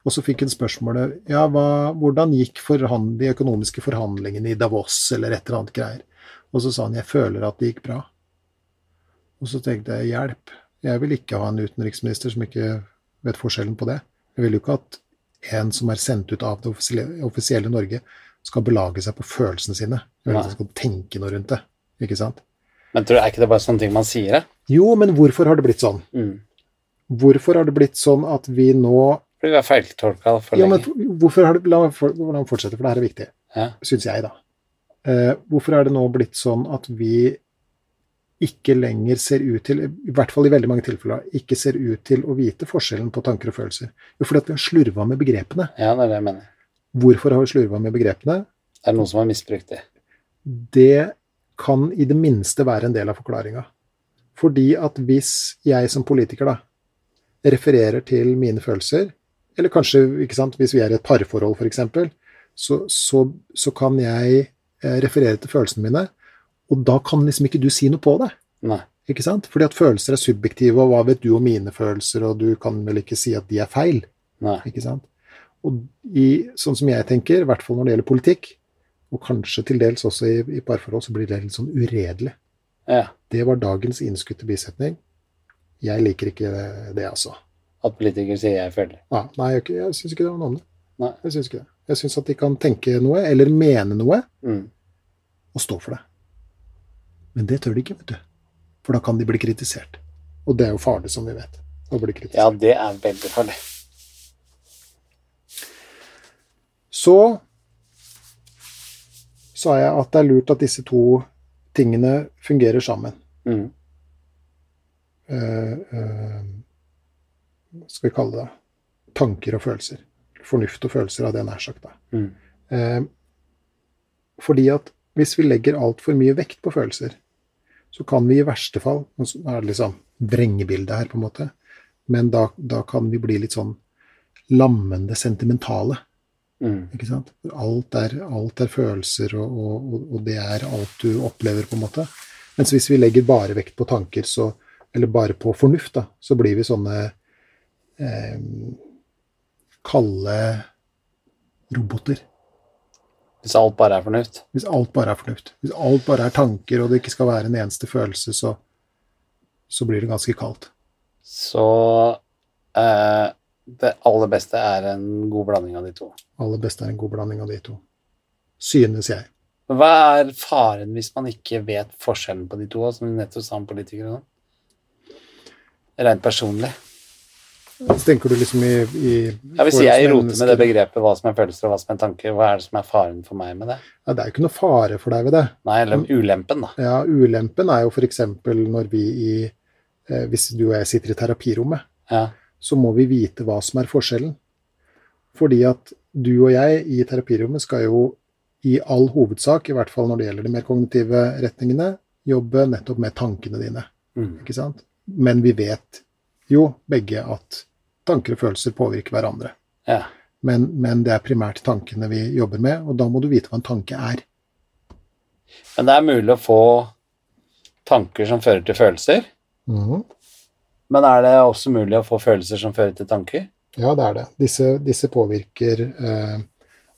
Speaker 2: Og så fikk han spørsmålet ja, hva, hvordan gikk forhand, de økonomiske forhandlingene i Davos, eller et eller annet greier. Og så sa han jeg føler at det gikk bra. Og så tenkte jeg hjelp. Jeg vil ikke ha en utenriksminister som ikke vet forskjellen på det. Jeg vil jo ikke at en som er sendt ut av det offisielle, offisielle Norge, skal belage seg på følelsene sine. Jeg vil at han skal tenke noe rundt det. Ikke sant?
Speaker 1: Men tror, du- er ikke det bare sånne ting man sier, da?
Speaker 2: Jo, men hvorfor har det blitt sånn?
Speaker 1: Mm.
Speaker 2: Hvorfor har det blitt sånn at vi nå
Speaker 1: Fordi vi er feiltolka for
Speaker 2: ja, men
Speaker 1: lenge.
Speaker 2: for- hvorfor har det, La meg for- la meg fortsette, for det her er viktig,
Speaker 1: Ja.
Speaker 2: syns jeg, da. Eh, hvorfor er det nå blitt sånn at vi ikke lenger ser ut til, i hvert fall i veldig mange tilfeller, ikke ser ut til å vite forskjellen på tanker og følelser? Jo, fordi at vi har slurva med begrepene.
Speaker 1: ja, det er det jeg mener.
Speaker 2: Hvorfor har vi slurva med begrepene?
Speaker 1: Det er noen som har misbrukt det.
Speaker 2: det kan i det minste være en del av forklaringa. Fordi at hvis jeg som politiker da, refererer til mine følelser, eller kanskje ikke sant, hvis vi er i et parforhold f.eks., så, så, så kan jeg eh, referere til følelsene mine, og da kan liksom ikke du si noe på det.
Speaker 1: Nei.
Speaker 2: Ikke sant? Fordi at følelser er subjektive, og hva vet du om mine følelser, og du kan vel ikke si at de er feil?
Speaker 1: Nei.
Speaker 2: Ikke sant? Og i, sånn som jeg tenker, i hvert fall når det gjelder politikk, og kanskje til dels også i, i parforhold, så blir det litt sånn uredelig.
Speaker 1: Ja.
Speaker 2: Det var dagens innskutte bisetning. Jeg liker ikke det, altså.
Speaker 1: At politikere sier 'jeg føler'.
Speaker 2: Ja, nei, jeg, jeg syns ikke det var noe om det.
Speaker 1: Nei.
Speaker 2: Jeg syns ikke det. Jeg syns at de kan tenke noe, eller mene noe,
Speaker 1: Mm.
Speaker 2: og stå for det. Men det tør de ikke, vet du. For da kan de bli kritisert. Og det er jo farlig, som vi vet. Å bli kritisert.
Speaker 1: Ja, det er veldig farlig.
Speaker 2: Så sa jeg at det er lurt at disse to tingene fungerer sammen.
Speaker 1: Mm.
Speaker 2: Eh, eh, hva skal vi kalle det tanker og følelser. Fornuft og følelser, hadde jeg nær sagt. da.
Speaker 1: Mm.
Speaker 2: Eh, fordi at hvis vi legger altfor mye vekt på følelser, så kan vi i verste fall Nå er det liksom vrengebildet her, på en måte. Men da, da kan vi bli litt sånn lammende sentimentale.
Speaker 1: Mm.
Speaker 2: Ikke sant? For Alt er, alt er følelser, og, og, og- og det er alt du opplever, på en måte. Mens hvis vi legger bare vekt på tanker, så, eller bare på fornuft, da, så blir vi sånne eh, kalde roboter.
Speaker 1: Hvis alt bare er fornuft.
Speaker 2: Hvis alt bare er fornuft. Hvis alt bare er tanker, og det ikke skal være en eneste følelse, så, så blir det ganske kaldt.
Speaker 1: Så eh, det aller beste er en god blanding av de to.
Speaker 2: Aller best er en god blanding av de to. Synes jeg.
Speaker 1: Men hva er faren hvis man ikke vet forskjellen på de to, som du nettopp sa om politikere nå? Rent personlig.
Speaker 2: Så tenker du liksom i, i
Speaker 1: Ja, hvis
Speaker 2: for oss
Speaker 1: jeg roter med
Speaker 2: mennesker-
Speaker 1: det begrepet hva som er følelser og hva som er tanker, hva er det som er faren for meg med det?
Speaker 2: ja, Det er jo ikke noe fare for deg ved det.
Speaker 1: Nei, eller ulempen, da.
Speaker 2: Ja, Ulempen er jo f.eks. når vi i eh, Hvis du og jeg sitter i terapirommet,
Speaker 1: Ja.
Speaker 2: så må vi vite hva som er forskjellen. Fordi at du og jeg i terapirommet skal jo i all hovedsak, i hvert fall når det gjelder de mer kognitive retningene, jobbe nettopp med tankene dine.
Speaker 1: Mm.
Speaker 2: ikke sant? Men vi vet jo begge at tanker og følelser påvirker hverandre.
Speaker 1: ja.
Speaker 2: Men, men det er primært tankene vi jobber med, og da må du vite hva en tanke er.
Speaker 1: Men det er mulig å få tanker som fører til følelser. Men er det også mulig å få følelser som fører til tanker?
Speaker 2: Ja, det er det. Disse, disse påvirker eh,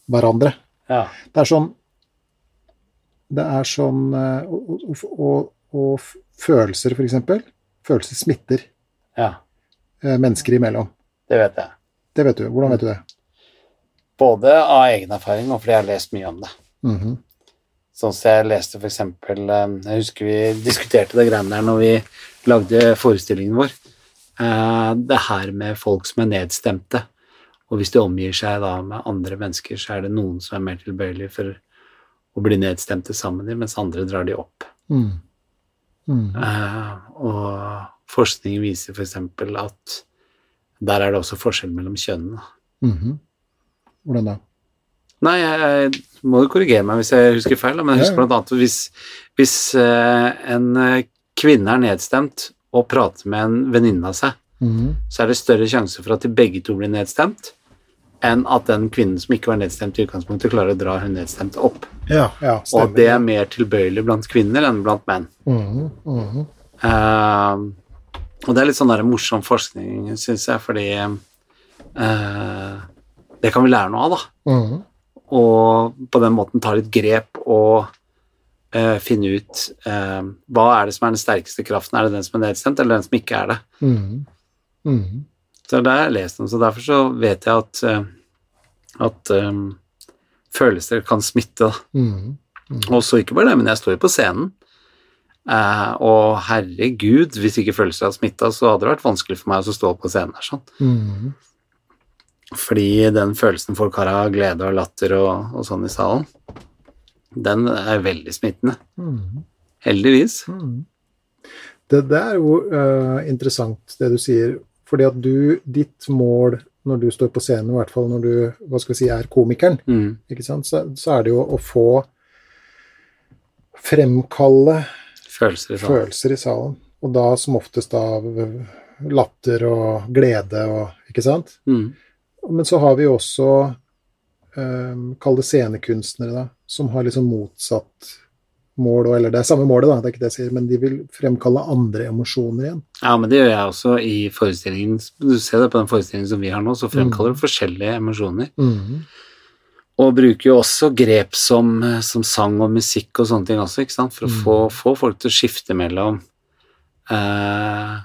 Speaker 2: hverandre.
Speaker 1: Ja.
Speaker 2: Det er sånn Det er sånn eh, Og, og, og, og f- følelser, f.eks. Følelser smitter
Speaker 1: ja.
Speaker 2: eh, mennesker imellom.
Speaker 1: Det vet jeg.
Speaker 2: Det vet du. Hvordan vet du det?
Speaker 1: Både av egen erfaring og fordi jeg har lest mye om det.
Speaker 2: Mhm.
Speaker 1: Sånn som jeg leste for eksempel eh, Jeg husker vi diskuterte det greiene der når vi lagde forestillingen vår. Eh, Det her med folk som er nedstemte. Og hvis de omgir seg da med andre mennesker, så er det noen som er mer tilbøyelige for å bli nedstemte sammen med dem, mens andre drar de opp.
Speaker 2: Mm. Mm.
Speaker 1: Eh, Og forskning viser f.eks. at der er det også forskjell mellom kjønnene. Mm-hmm.
Speaker 2: Mhm. Hvordan da?
Speaker 1: Nei, jeg, jeg må jo korrigere meg hvis jeg husker feil, da, men jeg
Speaker 2: Ja,
Speaker 1: husker blant annet at hvis, hvis eh, en eh, kvinne er nedstemt og prater med en venninne av seg,
Speaker 2: Mhm.
Speaker 1: så er det større sjanse for at de begge to blir nedstemt, enn at den kvinnen som ikke var nedstemt i utgangspunktet, klarer å dra hun nedstemte opp.
Speaker 2: Ja, ja
Speaker 1: Og
Speaker 2: stemmer.
Speaker 1: at det er mer tilbøyelig blant kvinner enn blant menn.
Speaker 2: Mhm, mhm.
Speaker 1: Ehm, og det er litt sånn der morsom forskning, syns jeg, fordi eh, det kan vi lære noe av, da.
Speaker 2: Mhm.
Speaker 1: Og på den måten ta litt grep og eh, finne ut eh, hva er det som er den sterkeste kraften. Er det den som er nedstemt, eller den som ikke er det?
Speaker 2: Mhm. Mhm.
Speaker 1: Så det har jeg lest om, så derfor så vet jeg at, eh, at eh, følelser kan smitte. da.
Speaker 2: Mhm.
Speaker 1: Og så ikke bare det, men jeg står jo på scenen. Eh, og herregud, hvis ikke følelser hadde smitta, så hadde det vært vanskelig for meg å stå på scenen. her, sånn.
Speaker 2: Mhm.
Speaker 1: Fordi den følelsen folk har av glede og latter og, og sånn i salen, den er veldig smittende.
Speaker 2: Mhm.
Speaker 1: Heldigvis.
Speaker 2: Mhm. Det det er jo eh, interessant, det du sier. Fordi at du, ditt mål når du står på scenen, i hvert fall når du hva skal vi si, er komikeren,
Speaker 1: Mm.
Speaker 2: ikke sant? Så, så er det jo å få fremkalle
Speaker 1: Følelser i salen.
Speaker 2: følelser i salen. Og da som oftest av latter og glede og Ikke sant?
Speaker 1: Mm.
Speaker 2: Men så har vi jo også um, Kall det scenekunstnere, da, som har liksom motsatt mål. og- Eller det er samme målet, da, det er ikke det jeg sier, men de vil fremkalle andre emosjoner igjen.
Speaker 1: Ja, men det gjør jeg også i forestillingen. Du ser det på den forestillingen som vi har nå, så fremkaller det forskjellige emosjoner. Og bruker jo også grep som, eh, som sang og musikk og sånne ting også, ikke sant? for å
Speaker 2: Mm.
Speaker 1: få, få folk til å skifte mellom eh,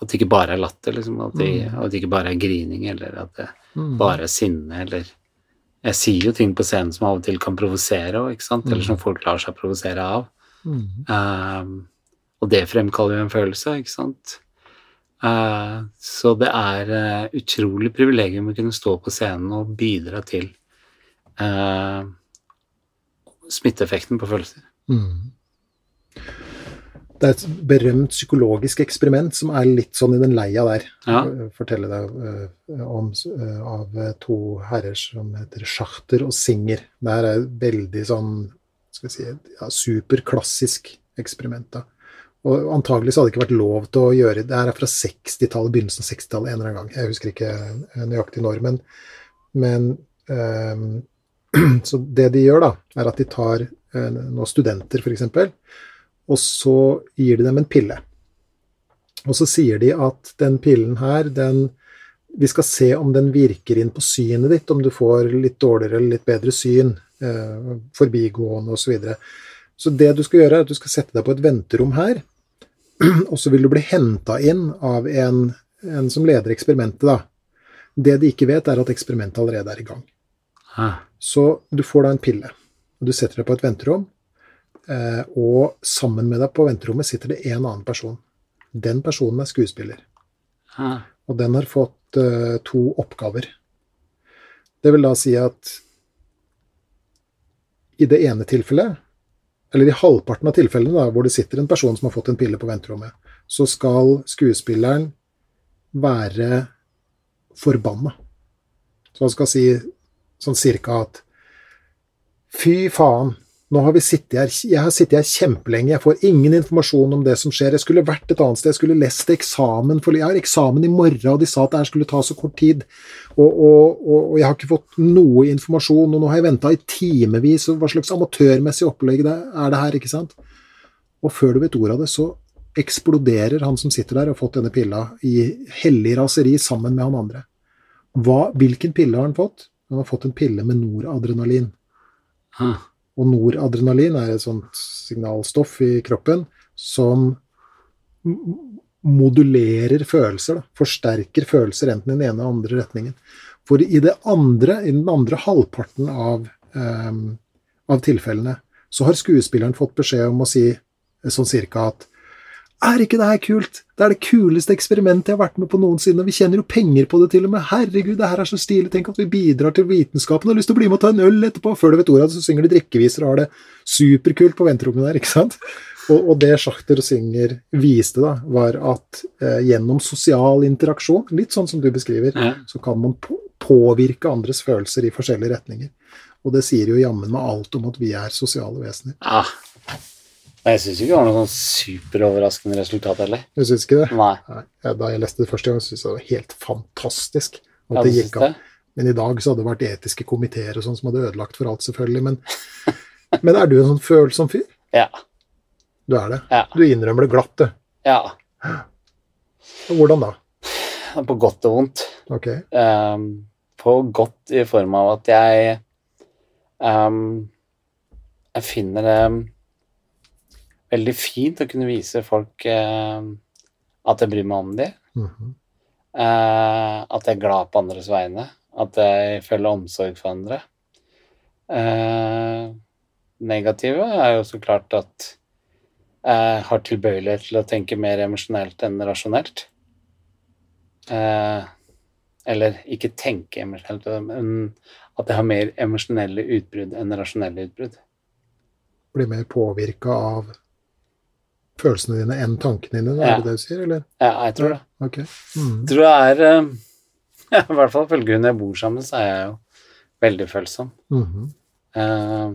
Speaker 1: At det ikke bare er latter, liksom. At det,
Speaker 2: Mm.
Speaker 1: at det ikke bare er grining, eller at det
Speaker 2: Mm.
Speaker 1: bare er sinne, eller Jeg sier jo ting på scenen som av og til kan provosere òg, ikke sant? Eller som folk lar seg provosere av.
Speaker 2: Mm.
Speaker 1: Ehm, og det fremkaller jo en følelse, ikke sant? Eh, så det er eh, utrolig privilegium å kunne stå på scenen og bidra til eh, smitteeffekten på følelser.
Speaker 2: Mm. Det er et berømt psykologisk eksperiment som er litt sånn i den leia der.
Speaker 1: Ja.
Speaker 2: F- Fortelle deg eh, om eh, av to herrer som heter Schachter og Singer. Det her er et veldig sånn skal vi si, ja, superklassisk eksperiment. da. Og antagelig så hadde det ikke vært lov til å gjøre Det her er fra 60-tallet, begynnelsen av 60-tallet en eller annen gang. Jeg husker ikke eh, nøyaktig når, men, men ehm, Så det de gjør, da, er at de tar eh, nå studenter, f.eks., og så gir de dem en pille. Og så sier de at den pillen her, den Vi skal se om den virker inn på synet ditt, om du får litt dårligere eller litt bedre syn, eh, forbigående osv. Så, videre. så det du skal gjøre, er at du skal sette deg på et venterom her, og så vil du bli henta inn av en, en som leder eksperimentet, da. Det de ikke vet, er at eksperimentet allerede er i gang.
Speaker 1: Hæ.
Speaker 2: Så du får da en pille. og Du setter deg på et venterom, eh, og sammen med deg på venterommet sitter det en annen person. Den personen er skuespiller,
Speaker 1: Hæ.
Speaker 2: og den har fått eh, to oppgaver. Det vil da si at i det ene tilfellet, eller i halvparten av tilfellene da, hvor det sitter en person som har fått en pille på venterommet, så skal skuespilleren være forbanna. Så han skal si sånn cirka at Fy faen, nå har vi sittet her, jeg har sittet her kjempelenge, jeg får ingen informasjon om det som skjer, jeg skulle vært et annet sted, jeg skulle lest eksamen, for jeg har eksamen i morgen, og de sa at det her skulle ta så kort tid, og, og, og, og jeg har ikke fått noe informasjon, og nå har jeg venta i timevis, og hva slags amatørmessig opplegg det er det her, ikke sant? Og før du vet ordet av det, så eksploderer han som sitter der og har fått denne pilla, i hellig raseri sammen med han andre. Hva, hvilken pille har han fått? Han har fått en pille med noradrenalin.
Speaker 1: Hæ.
Speaker 2: Og noradrenalin er et sånt signalstoff i kroppen som m- modulerer følelser, da. forsterker følelser enten i den ene eller andre retningen. For i, det andre, i den andre halvparten av, ehm, av tilfellene så har skuespilleren fått beskjed om å si eh, sånn cirka at er ikke det her kult? Det er det kuleste eksperimentet jeg har vært med på noensinne. og Vi tjener jo penger på det til og med. Herregud, det her er så stilig. Tenk at vi bidrar til vitenskapen. Jeg har lyst til å bli med og ta en øl etterpå. Før du vet ordet av det, så synger de drikkeviser og har det superkult på venterommet der, ikke sant? Og, og det Schachter og Singer viste, da, var at eh, gjennom sosial interaksjon, litt sånn som du beskriver,
Speaker 1: Ja.
Speaker 2: så kan man på, påvirke andres følelser i forskjellige retninger. Og det sier jo jammen meg alt om at vi er sosiale vesener.
Speaker 1: Ja. Nei, Ah. Jeg syns ikke det var noe sånn superoverraskende resultat heller.
Speaker 2: Du syns ikke det?
Speaker 1: Nei.
Speaker 2: Nei, ja, Da jeg leste det første gang, syntes jeg det var helt fantastisk. At
Speaker 1: Ja,
Speaker 2: det
Speaker 1: du syns
Speaker 2: gikk an. Men i dag så hadde det vært etiske komiteer og sånn som hadde ødelagt for alt, selvfølgelig. Men, men er du en sånn følsom fyr?
Speaker 1: Ja.
Speaker 2: Du er det.
Speaker 1: Ja.
Speaker 2: Du innrømmer det glatt, du.
Speaker 1: ja.
Speaker 2: Og Hvordan da?
Speaker 1: På godt og vondt.
Speaker 2: Ok.
Speaker 1: Ehm, på godt i form av at jeg ehm, Jeg finner det veldig fint å kunne vise folk ehm, at jeg bryr meg om dem.
Speaker 2: Mhm.
Speaker 1: Eh, at jeg er glad på andres vegne. At jeg føler omsorg for andre. Eh, negative er jo så klart at jeg har tilbøyelighet til å tenke mer emosjonelt enn rasjonelt. Eh, eller ikke tenke emosjonelt, men at jeg har mer emosjonelle utbrudd enn rasjonelle utbrudd.
Speaker 2: Blir mer påvirka av følelsene dine enn tankene dine, er
Speaker 1: Ja.
Speaker 2: det det du sier, eller?
Speaker 1: Ja, jeg tror det.
Speaker 2: Ok. Mhm.
Speaker 1: Jeg tror jeg er eh, I hvert fall følger hun jeg bor sammen, så er jeg jo veldig følsom.
Speaker 2: Mhm.
Speaker 1: Eh,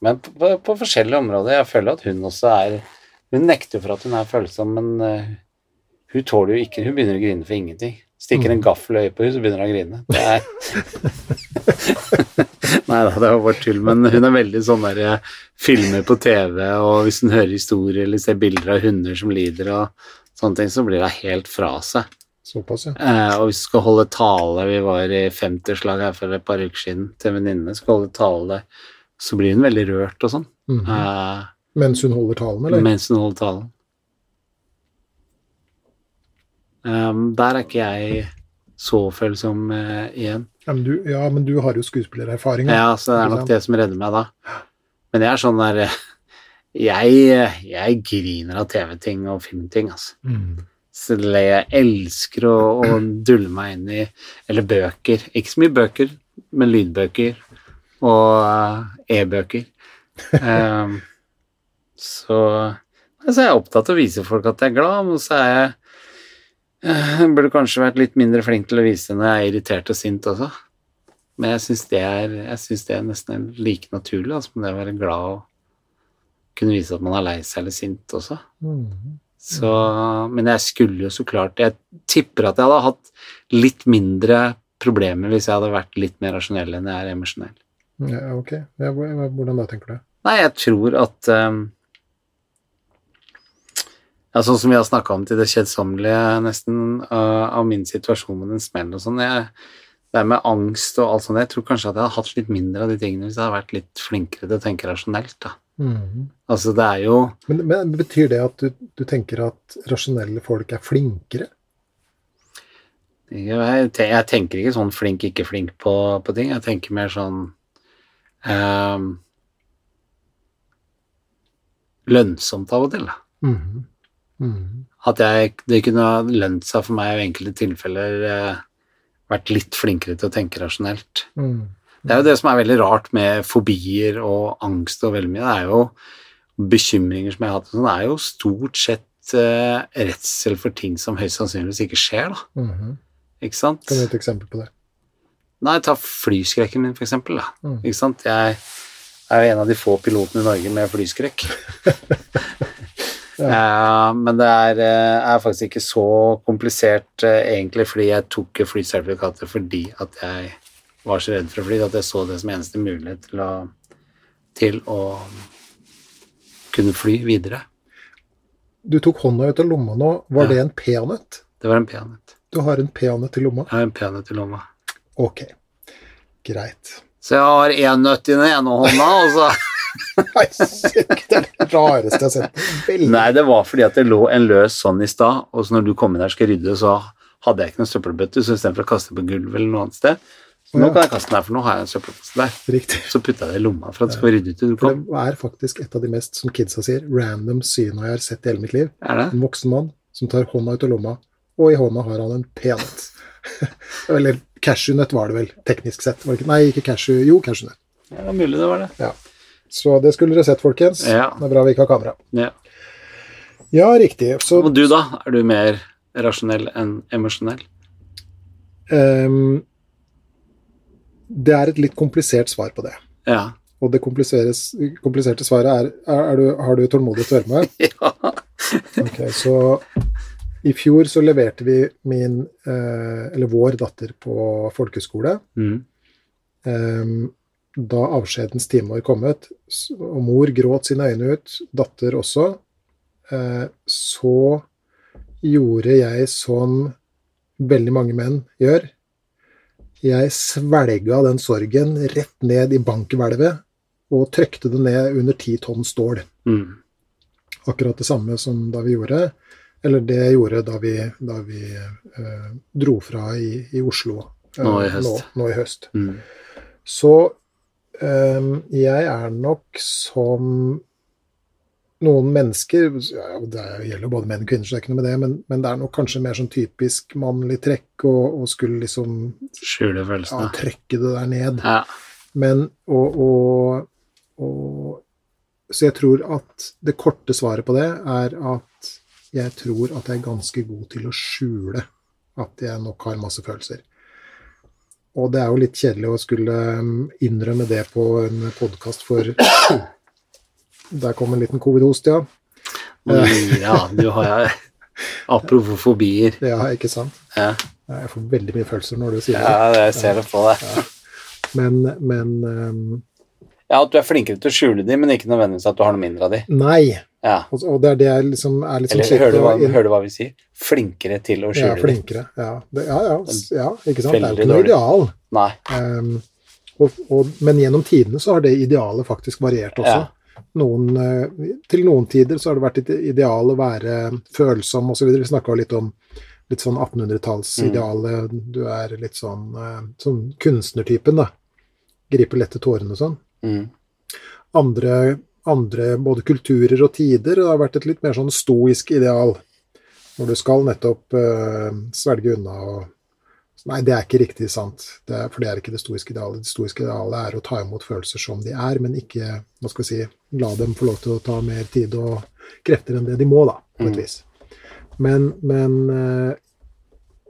Speaker 1: men på, på, på forskjellige områder. Jeg føler at hun også er Hun nekter for at hun er følsom, men eh, hun tåler jo ikke Hun begynner å grine for ingenting. Stikker en gaffel i øyet på henne, så begynner hun å grine. Det er Nei da, det var bare tull, men hun er veldig sånn der eh, Filmer på TV, og hvis hun hører historier eller ser bilder av hunder som lider og sånne ting, så blir hun helt fra seg.
Speaker 2: Såpass, ja.
Speaker 1: Eh, og vi skal holde tale Vi var i femterslag her for et par uker siden til venninnene. Skal holde tale der. Så blir hun veldig rørt og sånn
Speaker 2: Mhm.
Speaker 1: eh,
Speaker 2: Mens hun holder talen, eller?
Speaker 1: mens hun holder talen. Ehm, der er ikke jeg så følsom eh, igjen.
Speaker 2: Ja, men du, ja, men du har jo skuespillererfaring. da.
Speaker 1: Ja, så det er nok
Speaker 2: Ikke sant?
Speaker 1: det som redder meg da. Men jeg er sånn der eh, Jeg, eh, jeg griner av TV-ting og filmting, altså.
Speaker 2: Mhm.
Speaker 1: Så det er- jeg elsker å, å dulle meg inn i Eller bøker. Ikke så mye bøker, men lydbøker og eh, e-bøker. Ehm, så altså, jeg er opptatt av å vise folk at jeg er glad, men så er jeg eh, jeg Burde kanskje vært litt mindre flink til å vise når jeg er irritert og sint også. Men jeg syns det, er- jeg synes det er nesten er like naturlig altså, som det å være glad og kunne vise at man er lei seg eller sint også.
Speaker 2: Mhm.
Speaker 1: Så, men jeg skulle jo så klart Jeg tipper at jeg hadde hatt litt mindre problemer hvis jeg hadde vært litt mer rasjonell enn jeg er emosjonell.
Speaker 2: Ja, ok. Ja, hvor- hvordan da, tenker du?
Speaker 1: Nei, jeg tror at ehm, ja, Sånn som vi har snakka om til det kjedsommelige nesten, øh, av min situasjon med den smellen og sånn jeg, Det med angst og alt sånt Jeg tror kanskje at jeg hadde hatt litt mindre av de tingene hvis jeg hadde vært litt flinkere til å tenke rasjonelt. da.
Speaker 2: Mhm.
Speaker 1: Altså, det er jo
Speaker 2: Men, men betyr det at du, du tenker at rasjonelle folk er flinkere?
Speaker 1: Jeg te- jeg tenker ikke sånn flink, ikke flink på, på ting. Jeg tenker mer sånn ehm, Lønnsomt av og til. da.
Speaker 2: Mhm. Mhm.
Speaker 1: At jeg, det kunne ha lønt seg for meg i enkelte tilfeller eh, vært litt flinkere til å tenke rasjonelt.
Speaker 2: Mhm.
Speaker 1: Det er jo det som er veldig rart med fobier og angst og veldig mye. Det er jo bekymringer som jeg har hatt. og sånn, Det er jo stort sett eh, redsel for ting som høyst sannsynligvis ikke skjer, da.
Speaker 2: Mhm.
Speaker 1: Ikke sant?
Speaker 2: Kan du gi et eksempel på det?
Speaker 1: Nei, ta flyskrekken min, for eksempel. Da.
Speaker 2: Mm.
Speaker 1: Ikke sant? Jeg er jo en av de få pilotene i Norge med flyskrekk. Eh, men det er, eh, er faktisk ikke så komplisert eh, egentlig, fordi jeg tok jo flysertifikatet fordi at jeg var så redd for å fly, at jeg så det som eneste mulighet til å, til å kunne fly videre.
Speaker 2: Du tok hånda ut av lomma nå. Var
Speaker 1: Ja.
Speaker 2: det en peanøtt?
Speaker 1: Det var en peanøtt.
Speaker 2: Du har en peanøtt i lomma?
Speaker 1: Jeg har en peanøtt i lomma.
Speaker 2: Ok, greit.
Speaker 1: Så jeg har én nøtt i den ene hånda, og så
Speaker 2: Nei, sykt, det er det rareste jeg har sett. Veldig.
Speaker 1: Nei, det var fordi at det lå en løs sånn i stad, og så når du kom inn her og skal rydde, så hadde jeg ikke noen søppelbøtte, så istedenfor å kaste på gulvet eller noe annet sted Så nå
Speaker 2: Ja.
Speaker 1: kan jeg kaste den her, for nå har jeg en søppelkasse der.
Speaker 2: Riktig.
Speaker 1: Så putta jeg det i lomma for at det skulle rydde ut til du
Speaker 2: For
Speaker 1: kom.
Speaker 2: det er faktisk et av de mest, som kidsa sier, random syna jeg har sett i hele mitt liv.
Speaker 1: Er det?
Speaker 2: En voksen mann som tar hånda ut av lomma, og i hånda har han en peanøtt. Eller cashewnøtt var det vel, teknisk sett. Var det ikke? Nei, ikke cashew. Jo, cashewnøtt.
Speaker 1: Ja, det var mulig det var det.
Speaker 2: Ja. Så det skulle dere sett, folkens.
Speaker 1: Ja.
Speaker 2: Det er bra vi ikke har kamera.
Speaker 1: Ja.
Speaker 2: Ja, riktig. Så
Speaker 1: Og du, da? Er du mer rasjonell enn emosjonell?
Speaker 2: ehm, det er et litt komplisert svar på det.
Speaker 1: Ja.
Speaker 2: Og det kompliseres- kompliserte svaret er, er, er du, Har du tålmodighet til å høre meg?
Speaker 1: ja.
Speaker 2: Ok, så i fjor så leverte vi min, eh, eller vår datter på folkeskole.
Speaker 1: Mm.
Speaker 2: Ehm, da avskjedens time var kommet, s- og mor gråt sine øyne ut, datter også, eh, så gjorde jeg som veldig mange menn gjør. Jeg svelga den sorgen rett ned i bankhvelvet og trykte det ned under ti tonn stål.
Speaker 1: Mm.
Speaker 2: Akkurat det samme som da vi gjorde, eller det jeg gjorde da vi, da vi eh, dro fra i, i Oslo eh,
Speaker 1: Nå i høst.
Speaker 2: Nå, nå i høst.
Speaker 1: Mm.
Speaker 2: Så øhm, jeg er nok som noen mennesker ja, Det er- gjelder jo både menn og kvinner, så det er ikke noe med det, men, men det er nok kanskje mer sånn typisk mannlig trekk å å skulle liksom
Speaker 1: Skjule
Speaker 2: ja,
Speaker 1: følelsene.
Speaker 2: trekke det der ned.
Speaker 1: Ja.
Speaker 2: Men og, og, og Så jeg tror at det korte svaret på det er at jeg tror at jeg er ganske god til å skjule at jeg nok har masse følelser. Og det er jo litt kjedelig å skulle um, innrømme det på en podkast for Der kom en liten covid-host, ja.
Speaker 1: Mm, ja, du har Apropos fobier.
Speaker 2: Ja, ikke sant?
Speaker 1: Ja,
Speaker 2: Jeg får veldig mye følelser når du sier det.
Speaker 1: ja jeg ser det på deg.
Speaker 2: Men, men um,
Speaker 1: Ja, At du er flinkere til å skjule de, men ikke nødvendigvis at du har noe mindre av de.
Speaker 2: Nei.
Speaker 1: Ja.
Speaker 2: Og, og det er det jeg liksom er litt sånn
Speaker 1: Eller hører du, hva,
Speaker 2: å inn-
Speaker 1: hører du hva vi sier? Flinkere til å
Speaker 2: Ja,
Speaker 1: skjule de.
Speaker 2: flinkere. Ja, det, ja, ja, s- ja, ikke sant. Det er jo
Speaker 1: Veldig
Speaker 2: ikke noe
Speaker 1: dårlig.
Speaker 2: ideal.
Speaker 1: Nei.
Speaker 2: Ehm, og, og, men gjennom tidene så har det idealet faktisk variert også.
Speaker 1: Ja.
Speaker 2: Noen, eh, til noen tider så har det vært et ideal å være følsom osv. Vi snakka litt om litt sånn 1800-tallsidealet.
Speaker 1: Mm.
Speaker 2: Du er litt sånn, eh, sånn kunstnertypen, da. Griper lett til tårene og sånn
Speaker 1: Mm.
Speaker 2: andre, andre både kulturer og tider. og Det har vært et litt mer sånn stoisk ideal, hvor du skal nettopp eh, svelge unna og så Nei, det er ikke riktig sant, det er, for det er ikke det stoiske idealet. Det stoiske idealet er å ta imot følelser som de er, men ikke hva skal vi si, la dem få lov til å ta mer tid og krefter enn det de må, da, på et
Speaker 1: Mm.
Speaker 2: vis. Men, men eh,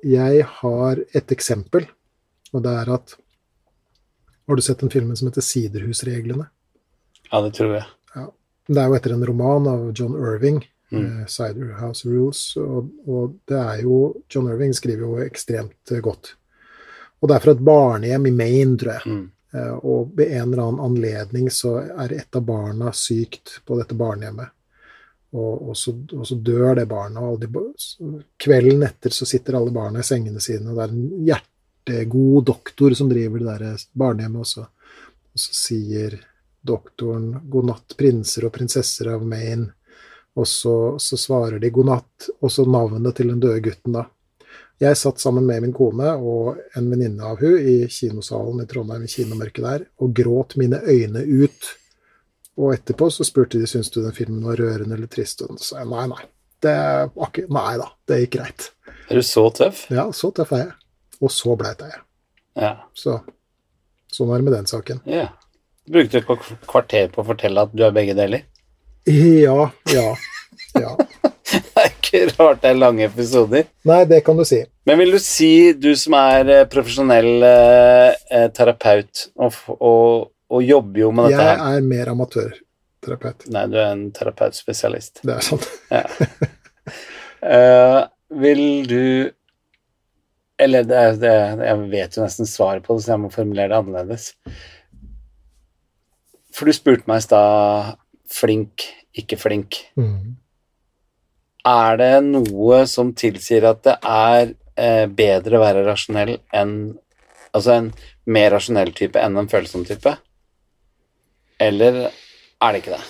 Speaker 2: jeg har et eksempel, og det er at Har du sett den filmen som heter 'Siderhusreglene'?
Speaker 1: Ja, det tror jeg.
Speaker 2: Det er jo etter en roman av John Irving,
Speaker 1: Mm.
Speaker 2: eh, 'Cider House Rules', og, og det er jo John Irving skriver jo ekstremt eh, godt. Og det er fra et barnehjem i Maine, tror jeg.
Speaker 1: Mm.
Speaker 2: Eh, Og ved en eller annen anledning så er et av barna sykt på dette barnehjemmet. Og, og, så, og så dør det barna. Og alle de, ba- så- kvelden etter så sitter alle barna i sengene sine, og det er en hjertegod doktor som driver det der eh, barnehjemmet også. Og så sier doktoren 'God natt, prinser og prinsesser av Maine'. Og så, så svarer de 'god natt', og så navnet til den døde gutten, da. Jeg satt sammen med min kone og en venninne av hun i kinosalen i Trondheim, i kinomørket der, og gråt mine øyne ut. Og etterpå så spurte de syntes du den filmen var rørende eller trist, og så sa jeg nei, nei. Det var ikke Nei da, det gikk greit.
Speaker 1: Er du så tøff?
Speaker 2: Ja, så tøff er jeg. Og så bleit er jeg.
Speaker 1: Ja.
Speaker 2: Så sånn er det med den saken.
Speaker 1: ja. Du brukte et par kvarter på å fortelle at du er begge deler.
Speaker 2: Ja, ja, ja.
Speaker 1: Det er ikke rart det er lange episoder.
Speaker 2: Nei, det kan du si.
Speaker 1: Men vil du si, du som er eh, profesjonell eh, eh, terapeut og, f- og, og jobber jo med dette
Speaker 2: Jeg
Speaker 1: her
Speaker 2: er mer amatørterapeut.
Speaker 1: Nei, du er en terapeutspesialist.
Speaker 2: Det er sant.
Speaker 1: Eh, vil du Eller det, er- det, er- jeg vet jo nesten svaret på det, så jeg må formulere det annerledes. For du spurte meg i stad flink, ikke flink.
Speaker 2: Mm.
Speaker 1: Er det noe som tilsier at det er eh, bedre å være rasjonell enn Altså en mer rasjonell type enn en følsom type? Eller er det ikke det?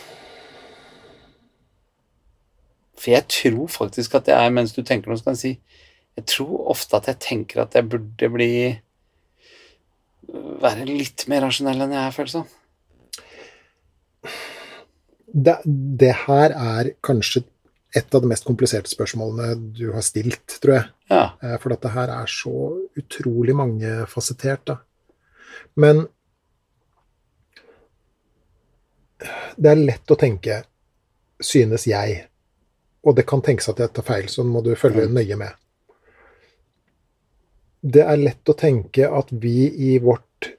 Speaker 1: For jeg tror faktisk at det er mens du tenker noe, så kan jeg si Jeg tror ofte at jeg tenker at jeg burde bli Være litt mer rasjonell enn jeg er følsom.
Speaker 2: Det, det her er kanskje et av de mest kompliserte spørsmålene du har stilt, tror jeg.
Speaker 1: Ja.
Speaker 2: Eh, For dette her er så utrolig mangefasettert, da. Men det er lett å tenke, synes jeg. Og det kan tenkes at jeg tar feil, så må du følge
Speaker 1: Mm.
Speaker 2: nøye med. Det er lett å tenke at vi i vårt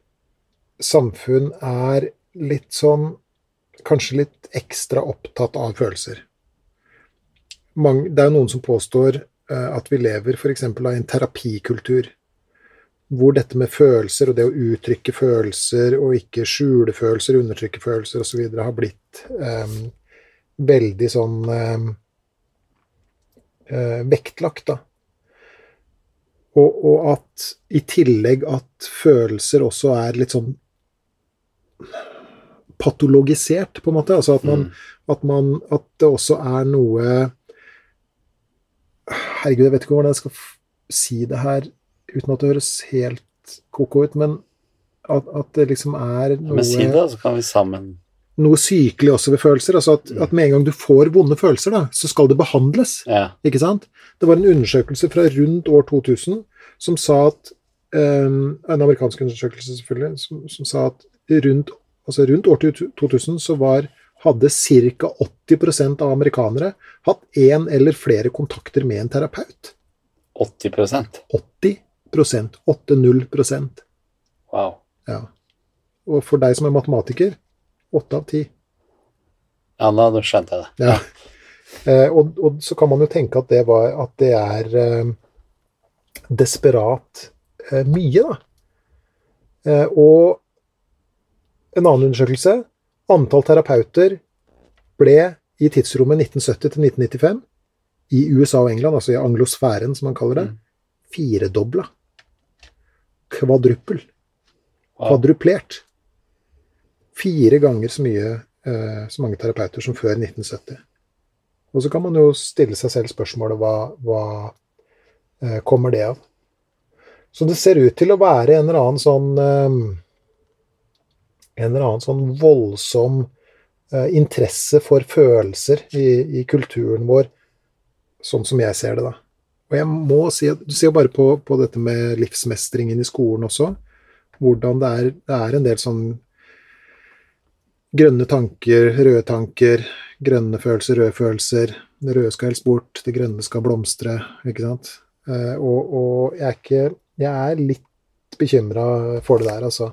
Speaker 2: samfunn er litt sånn Kanskje litt ekstra opptatt av følelser. Mange, det er jo noen som påstår eh, at vi lever f.eks. av en terapikultur hvor dette med følelser og det å uttrykke følelser og ikke skjule følelser, undertrykke følelser osv. har blitt eh, veldig sånn eh, eh, vektlagt, da. Og, og at i tillegg at følelser også er litt sånn patologisert, på en måte. Altså at man,
Speaker 1: Mm.
Speaker 2: at, man, at det også er noe Herregud, jeg vet ikke hvordan jeg skal f- si det her uten at det høres helt koko ut, men at, at det liksom er noe
Speaker 1: Men si det, da, så kan vi sammen
Speaker 2: noe sykelig også ved følelser. altså at,
Speaker 1: Mm.
Speaker 2: at med en gang du får vonde følelser, da, så skal det behandles.
Speaker 1: Ja.
Speaker 2: ikke sant? Det var en undersøkelse fra rundt år 2000 som sa at ehm, En amerikansk undersøkelse, selvfølgelig, som, som sa at rundt, altså rundt år 2000 så var hadde ca. 80 av amerikanere hatt én eller flere kontakter med en terapeut.
Speaker 1: 80
Speaker 2: 80 80
Speaker 1: Wow.
Speaker 2: ja. Og for deg som er matematiker, åtte av ti.
Speaker 1: Ja, nå nå skjønte jeg det.
Speaker 2: Ja. Eh, og, og så kan man jo tenke at det, var, at det er eh, desperat eh, mye, da. Eh, og en annen undersøkelse Antall terapeuter ble i tidsrommet 1970 til 1995 i USA og England, altså i anglosfæren, som man kaller det,
Speaker 1: Mm.
Speaker 2: firedobla. Kvadruppel
Speaker 1: Wow.
Speaker 2: kvadruplert. Fire ganger så mye eh, så mange terapeuter som før 1970. Og så kan man jo stille seg selv spørsmålet hva, hva eh, kommer det av? Så det ser ut til å være en eller annen sånn eh, En eller annen sånn voldsom eh, interesse for følelser i, i kulturen vår, sånn som jeg ser det, da. Og jeg må si at Du ser jo bare på, på dette med livsmestringen i skolen også hvordan det er, det er en del sånn grønne tanker, røde tanker, grønne følelser, røde følelser. Det røde skal helst bort, det grønne skal blomstre, ikke sant. Eh, og, og jeg er ikke Jeg er litt bekymra for det der, altså.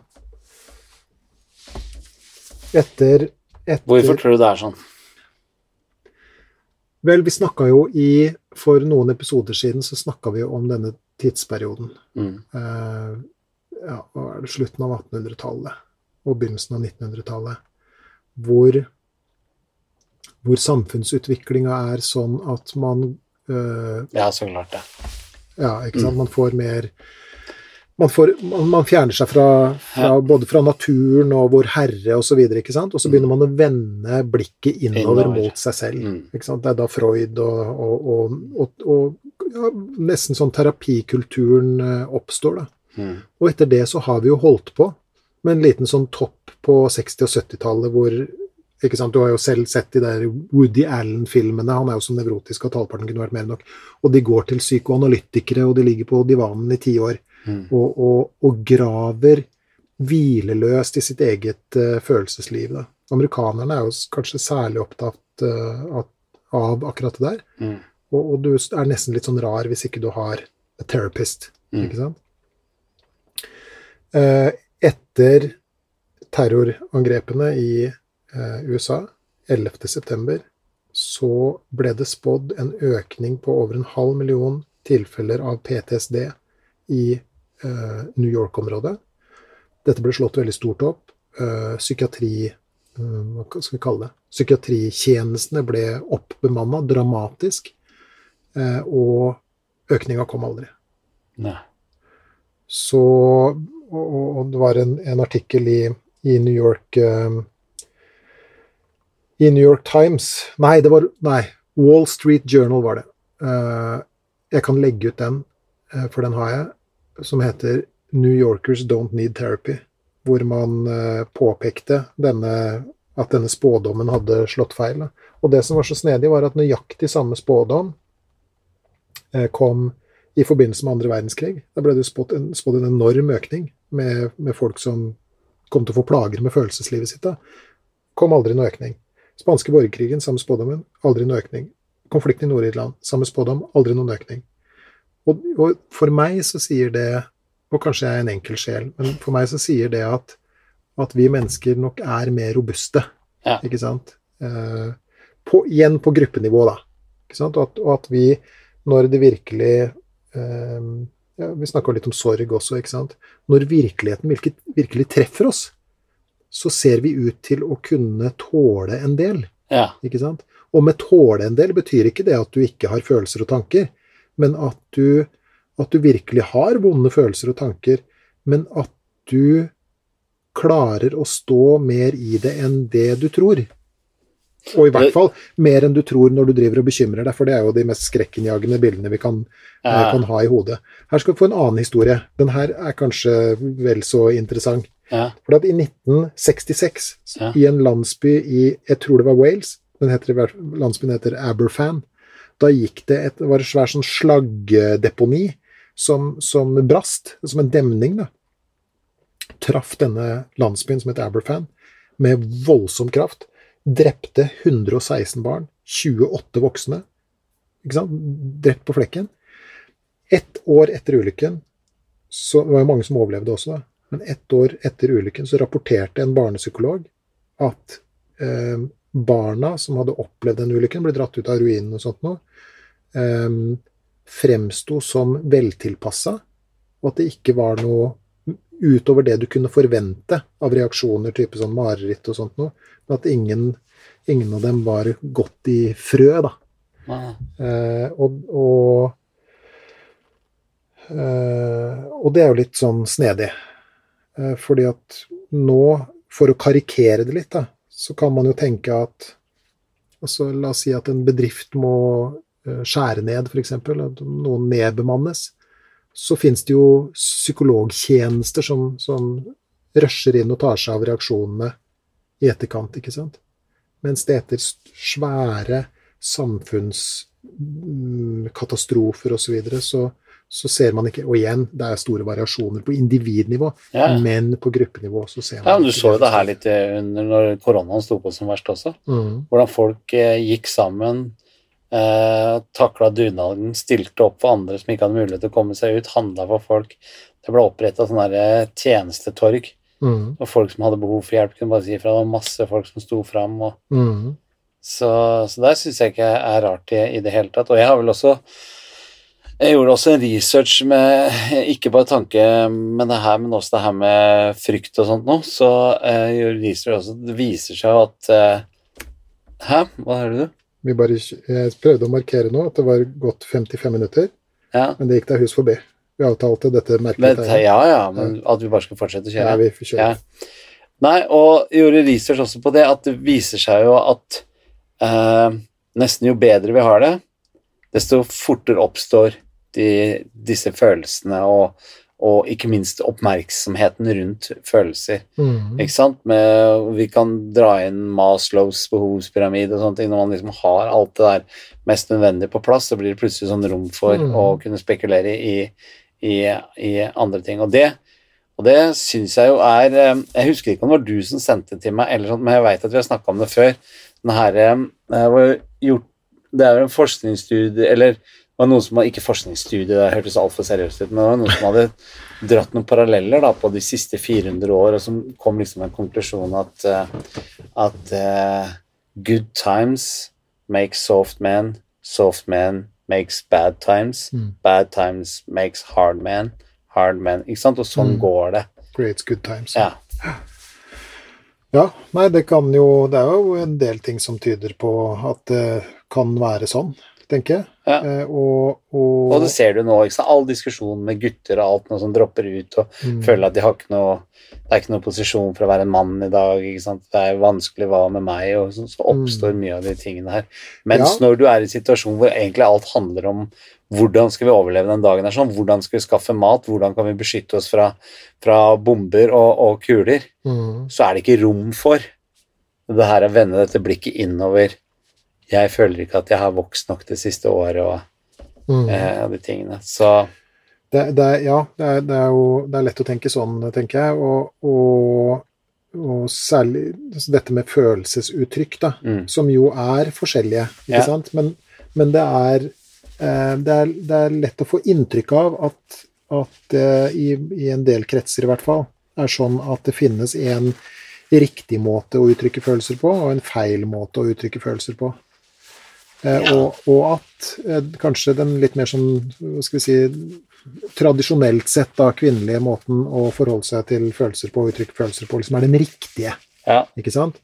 Speaker 2: Etter, etter
Speaker 1: Hvorfor tror du det er sånn?
Speaker 2: Vel, vi snakka jo i For noen episoder siden så snakka vi jo om denne tidsperioden.
Speaker 1: Mm.
Speaker 2: eh, ja, hva er det, slutten av 1800-tallet og begynnelsen av 1900-tallet, hvor, hvor samfunnsutviklinga er sånn at man eh,
Speaker 1: Ja, så klart det.
Speaker 2: Ja, ikke sant. Man får mer man, får, man, man fjerner seg fra, fra, både fra naturen og Vår Herre osv., ikke sant. Og så begynner man å vende blikket innover
Speaker 1: Innover.
Speaker 2: mot seg selv.
Speaker 1: Mm.
Speaker 2: Ikke sant? Det er da Freud og, og, og, og, og ja, nesten sånn terapikulturen eh, oppstår, da.
Speaker 1: Mm.
Speaker 2: Og etter det så har vi jo holdt på med en liten sånn topp på 60- og 70-tallet hvor ikke sant, Du har jo selv sett de der Woody Allen-filmene. Han er jo så nevrotisk at halvparten kunne vært mer enn nok. Og de går til psykoanalytikere, og de ligger på divanen i ti år
Speaker 1: Mm.
Speaker 2: og, og, og graver hvileløst i sitt eget eh, følelsesliv. Da. Amerikanerne er jo s- kanskje særlig opptatt eh, at, av akkurat det der.
Speaker 1: Mm.
Speaker 2: Og, og du s- er nesten litt sånn rar hvis ikke du har a therapist.
Speaker 1: Mm.
Speaker 2: Ikke sant? Eh, etter terrorangrepene i eh, USA 11.9., så ble det spådd en økning på over en halv million tilfeller av PTSD i eh, New York-området. Dette ble slått veldig stort opp. Eh, psykiatri eh, Hva skal vi kalle det? Psykiatritjenestene ble oppbemanna dramatisk, eh, og økninga kom aldri.
Speaker 1: Nei.
Speaker 2: Så Og, og og det var en, en artikkel i, i New York eh, I New York Times Nei, det var Nei. Wall Street Journal var det. Eh, jeg kan legge ut den, eh, for den har jeg, som heter 'New Yorkers Don't Need Therapy', hvor man eh, påpekte denne, at denne spådommen hadde slått feil. da. Og det som var så snedig, var at nøyaktig samme spådom eh, kom i forbindelse med andre verdenskrig. Da ble det spådd en, spådd en enorm økning med, med folk som kom til å få plager med følelseslivet sitt. Da. Kom aldri noe økning. Spanske borgerkrigen, samme spådommen, aldri noe økning. Konflikten i Nord-Irland, samme spådom, aldri noen økning. Og, og for meg så sier det, og kanskje jeg er en enkel sjel, men for meg så sier det at, at vi mennesker nok er mer robuste,
Speaker 1: Ja.
Speaker 2: ikke sant? Eh, på, igjen på gruppenivå, da. Ikke sant? Og, at, og at vi, når det virkelig eh, ja, Vi snakka litt om sorg også, ikke sant. Når virkeligheten virkelig, virkelig treffer oss, så ser vi ut til å kunne tåle en del.
Speaker 1: Ja.
Speaker 2: Ikke sant? Og med tåle en del betyr ikke det at du ikke har følelser og tanker, men at du, at du virkelig har vonde følelser og tanker, men at du klarer å stå mer i det enn det du tror. Og i hvert
Speaker 1: Det-
Speaker 2: fall mer enn du tror når du driver og bekymrer deg, for det er jo de mest skrekkinnjagende bildene vi kan, eh,
Speaker 1: Ja.
Speaker 2: kan ha i hodet. Her skal du få en annen historie. Den her er kanskje vel så interessant.
Speaker 1: Ja.
Speaker 2: For at i 1966,
Speaker 1: Ja.
Speaker 2: i en landsby i jeg tror det var Wales, den heter, i hvert- landsbyen heter Aberfan, da gikk det et, det var et svært sånn slaggdeponi som, som brast, som en demning, da. Traff denne landsbyen som het Aberfan med voldsom kraft. Drepte 116 barn, 28 voksne. Ikke sant? Drept på flekken. Ett år etter ulykken så Det var jo mange som overlevde også, da. Men ett år etter ulykken så rapporterte en barnepsykolog at eh, barna som hadde opplevd den ulykken, ble dratt ut av ruinen og sånt noe, eh, fremsto som veltilpassa, og at det ikke var noe utover det du kunne forvente av reaksjoner, type sånn mareritt og sånt noe, men at ingen, ingen av dem var godt i frø, da.
Speaker 1: Nei.
Speaker 2: Eh, og, og, eh, og det er jo litt sånn snedig. Eh, fordi at nå, for å karikere det litt, da, så kan man jo tenke at altså, La oss si at en bedrift må eh, skjære ned, f.eks. At noen nedbemannes. Så fins det jo psykologtjenester som, som rusher inn og tar seg av reaksjonene i etterkant, ikke sant? Mens det etter s- svære samfunnskatastrofer osv., mm, så, videre, så så ser man ikke Og igjen, det er store variasjoner på individnivå,
Speaker 1: Ja. ja.
Speaker 2: men på gruppenivå så ser man
Speaker 1: Ja, men Du
Speaker 2: ikke
Speaker 1: så jo det her litt eh, under når koronaen sto på som verst også.
Speaker 2: Mm,
Speaker 1: Hvordan folk eh, gikk sammen, eh, takla dugnaden, stilte opp for andre som ikke hadde mulighet til å komme seg ut, handla for folk. Det ble oppretta eh, tjenestetorg,
Speaker 2: mm,
Speaker 1: og folk som hadde behov for hjelp, kunne bare si ifra. Det var masse folk som sto fram. og
Speaker 2: mm,
Speaker 1: Så, så der syns jeg ikke er rart i, i det hele tatt. Og jeg har vel også jeg gjorde også en research med ikke bare tanke, men det her, men også det her med frykt og sånt nå. Så eh, jeg gjorde research også, det viser seg jo at eh, Hæ, hva hører du?
Speaker 2: Vi bare, jeg prøvde å markere nå at det var gått 55 minutter,
Speaker 1: Ja,
Speaker 2: men det gikk deg hus forbi. Vi avtalte dette
Speaker 1: men,
Speaker 2: merket
Speaker 1: ja, ja, men at vi bare skal fortsette å
Speaker 2: Ja,
Speaker 1: kjøre.
Speaker 2: vi får kjøre.
Speaker 1: Nei, og jeg gjorde research også på det, at det viser seg jo at eh, nesten jo bedre vi har det, desto fortere oppstår de, disse følelsene og, og ikke minst oppmerksomheten rundt følelser.
Speaker 2: Mm.
Speaker 1: Ikke sant? Med, vi kan dra inn Maslows behovspyramide og sånne ting. Når man liksom har alt det der mest nødvendig på plass, så blir det plutselig sånn rom for
Speaker 2: Mm.
Speaker 1: å kunne spekulere i, i, i andre ting. Og det, og det syns jeg jo er eh, Jeg husker ikke om det var du som sendte det til meg, eller sånt, men jeg veit at vi har snakka om det før. Den her, eh, det var gjort, det er jo en forskningsstudie Eller det var noen som ikke forskningsstudie, det hørtes altfor seriøst ut, men det var noen som hadde dratt noen paralleller da, på de siste 400 år, og som kom liksom med en konklusjon at, eh, at eh, good times make soft men, soft men makes bad times,
Speaker 2: Mm.
Speaker 1: bad times makes hard men, hard men, ikke sant? Og sånn
Speaker 2: Mm.
Speaker 1: går det.
Speaker 2: Creates good times.
Speaker 1: Ja.
Speaker 2: Ja, nei, det kan jo Det er jo en del ting som tyder på at det kan være sånn, tenker jeg.
Speaker 1: Ja.
Speaker 2: Eh, og, og,
Speaker 1: Og det ser du nå, ikke sant? All diskusjon med gutter og alt noe som dropper ut, og
Speaker 2: Mm.
Speaker 1: føler at de har ikke noe det er ikke noe posisjon for å være en mann i dag. ikke sant? Det er vanskelig hva med meg, og så, så oppstår mye av de tingene her. Mens
Speaker 2: Mm. Ja.
Speaker 1: når du er i en situasjon hvor egentlig alt handler om hvordan skal vi overleve den dagen, her, sånn, hvordan skal vi skaffe mat, hvordan kan vi beskytte oss fra, fra bomber og, og kuler,
Speaker 2: Mm.
Speaker 1: så er det ikke rom for det her å vende dette blikket innover. Jeg føler ikke at jeg har vokst nok det siste året og
Speaker 2: Mm.
Speaker 1: eh, de tingene. Så
Speaker 2: Det, det, er- ja, det er, det er jo det er lett å tenke sånn, tenker jeg. Og, og, og særlig altså dette med følelsesuttrykk, da,
Speaker 1: Mm.
Speaker 2: som jo er forskjellige. ikke
Speaker 1: Ja.
Speaker 2: sant? Men, men det, er, eh, det, er, det er lett å få inntrykk av at, at eh, i, i en del kretser i hvert fall, er sånn at det finnes en riktig måte å uttrykke følelser på, og en feil måte å uttrykke følelser på. Eh, og, og at eh, kanskje den litt mer sånn, hva skal vi si, tradisjonelt sett da, kvinnelige måten å forholde seg til følelser på, og uttrykke følelser på, liksom er den riktige,
Speaker 1: ja,
Speaker 2: ikke sant?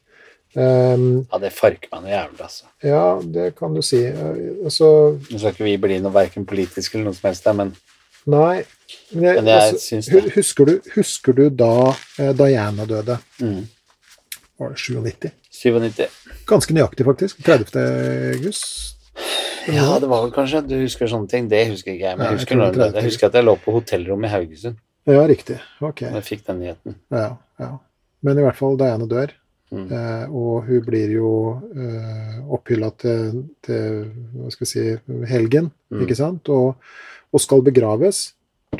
Speaker 2: Ehm,
Speaker 1: ja det farker meg noe jævlig, altså.
Speaker 2: ja, det kan du si. Eh, Altså,
Speaker 1: Nå skal ikke vi bli noe verken politisk eller noe som helst, der, men
Speaker 2: nei men jeg,
Speaker 1: Men jeg
Speaker 2: altså,
Speaker 1: syns
Speaker 2: hu-
Speaker 1: det.
Speaker 2: Husker du, husker du da eh, Diana døde?
Speaker 1: mm,
Speaker 2: Var det 97?
Speaker 1: 97.
Speaker 2: Ganske nøyaktig, faktisk. 30. august.
Speaker 1: Ja, det var vel kanskje Du husker sånne ting? Det husker ikke jeg. Men
Speaker 2: Nei,
Speaker 1: jeg
Speaker 2: jeg
Speaker 1: husker,
Speaker 2: tror
Speaker 1: når
Speaker 2: det er
Speaker 1: den døde. jeg husker at jeg lå på hotellrommet i Haugesund
Speaker 2: Ja, riktig. Ok.
Speaker 1: da jeg fikk den nyheten.
Speaker 2: Ja, ja. Men i hvert fall Diana dør,
Speaker 1: Mm.
Speaker 2: eh, og hun blir jo eh, opphylla til, til hva skal vi si, helgen,
Speaker 1: Mm.
Speaker 2: ikke sant? Og, og skal begraves.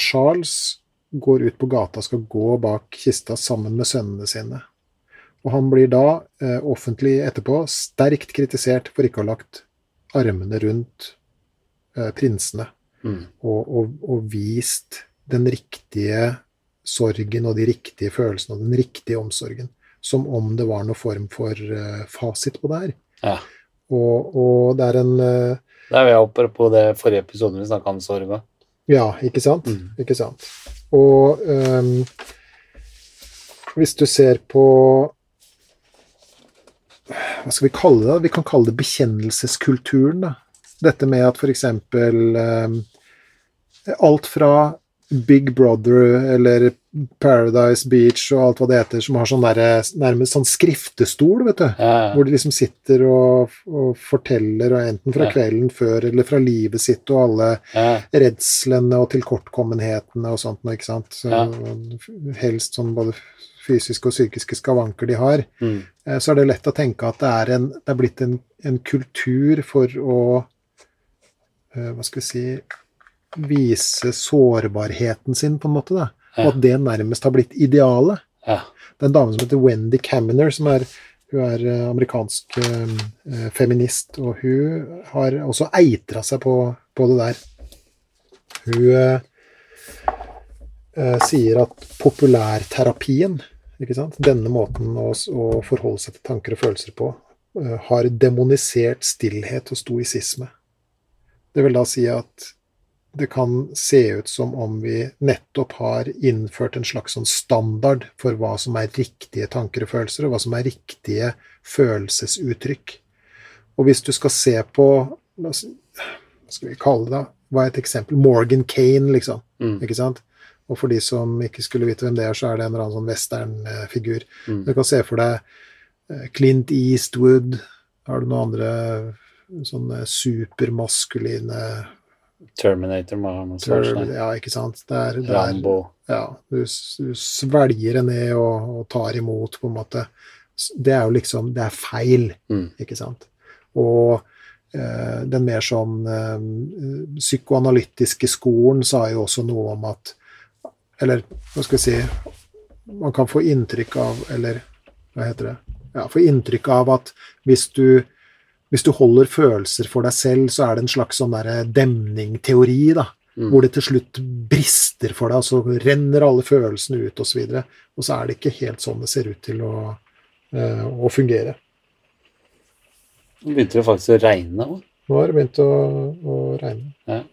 Speaker 2: Charles går ut på gata og skal gå bak kista sammen med sønnene sine. Og han blir da, eh, offentlig etterpå, sterkt kritisert for ikke å ha lagt armene rundt eh, prinsene
Speaker 1: Mm.
Speaker 2: og, og, og vist den riktige sorgen og de riktige følelsene og den riktige omsorgen. Som om det var noen form for eh, fasit på det her.
Speaker 1: Ja.
Speaker 2: Og, og det er en eh,
Speaker 1: Da er vi oppe på det forrige episoden vi snakka om sorg òg.
Speaker 2: Ja, ikke sant?
Speaker 1: Mm.
Speaker 2: Ikke sant? Og ehm, hvis du ser på Hva skal vi kalle det? Vi kan kalle det bekjennelseskulturen. da. Dette med at f.eks. Um, alt fra Big Brother eller Paradise Beach og alt hva det heter, som har sånn derre- nærmest sånn skriftestol, vet du.
Speaker 1: Ja, ja.
Speaker 2: Hvor de liksom sitter og, og forteller, og enten fra
Speaker 1: Ja.
Speaker 2: kvelden før eller fra livet sitt, og alle
Speaker 1: ja.
Speaker 2: redslene og tilkortkommenhetene og sånt noe, ikke sant. Så,
Speaker 1: Ja.
Speaker 2: Helst sånn både fysiske og psykiske skavanker de har.
Speaker 1: Mm.
Speaker 2: Eh, Så er det lett å tenke at det er, en, det er blitt en, en kultur for å eh, Hva skal vi si Vise sårbarheten sin, på en måte. da,
Speaker 1: Ja.
Speaker 2: Og at det nærmest har blitt idealet.
Speaker 1: ja.
Speaker 2: Det er en dame som heter Wendy Caminer, som er, hun er eh, amerikansk eh, feminist, og hun har også eitra seg på, på det der. Hun eh, eh, sier at populærterapien, ikke sant? denne måten å, s- å forholde seg til tanker og følelser på, eh, har demonisert stillhet og stoisisme. Det vil da si at det kan se ut som om vi nettopp har innført en slags sånn standard for hva som er riktige tanker og følelser, og hva som er riktige følelsesuttrykk. Og hvis du skal se på la oss, Hva skal vi kalle det, da? Hva er et eksempel? Morgan Kane, liksom.
Speaker 1: Mm.
Speaker 2: Ikke sant? Og for de som ikke skulle vite hvem det er, så er det en eller annen sånn westernfigur.
Speaker 1: Mm.
Speaker 2: Du kan se for deg eh, Clint Eastwood Har du noen andre Sånne supermaskuline
Speaker 1: Terminator med Arnold
Speaker 2: tør,
Speaker 1: Schwarzenegger.
Speaker 2: Ja, ikke sant. Det er, det er
Speaker 1: sånn Rambo.
Speaker 2: ja, du, s- du svelger det ned og, og tar imot, på en måte. S- Det er jo liksom Det er feil,
Speaker 1: Mm.
Speaker 2: ikke sant? Og eh, den mer sånn eh, psykoanalytiske skolen sa jo også noe om at Eller hva skal jeg si Man kan få inntrykk av Eller hva heter det? Ja, få inntrykk av at hvis du hvis du holder følelser for deg selv, så er det en slags sånn derre demning-teori, da
Speaker 1: Mm.
Speaker 2: hvor det til slutt brister for deg, og så renner alle følelsene ut osv. Og, så og så er det ikke helt sånn det ser ut til å, eh, å fungere.
Speaker 1: Nå begynte det faktisk å regne òg.
Speaker 2: Nå har det begynt å, å regne.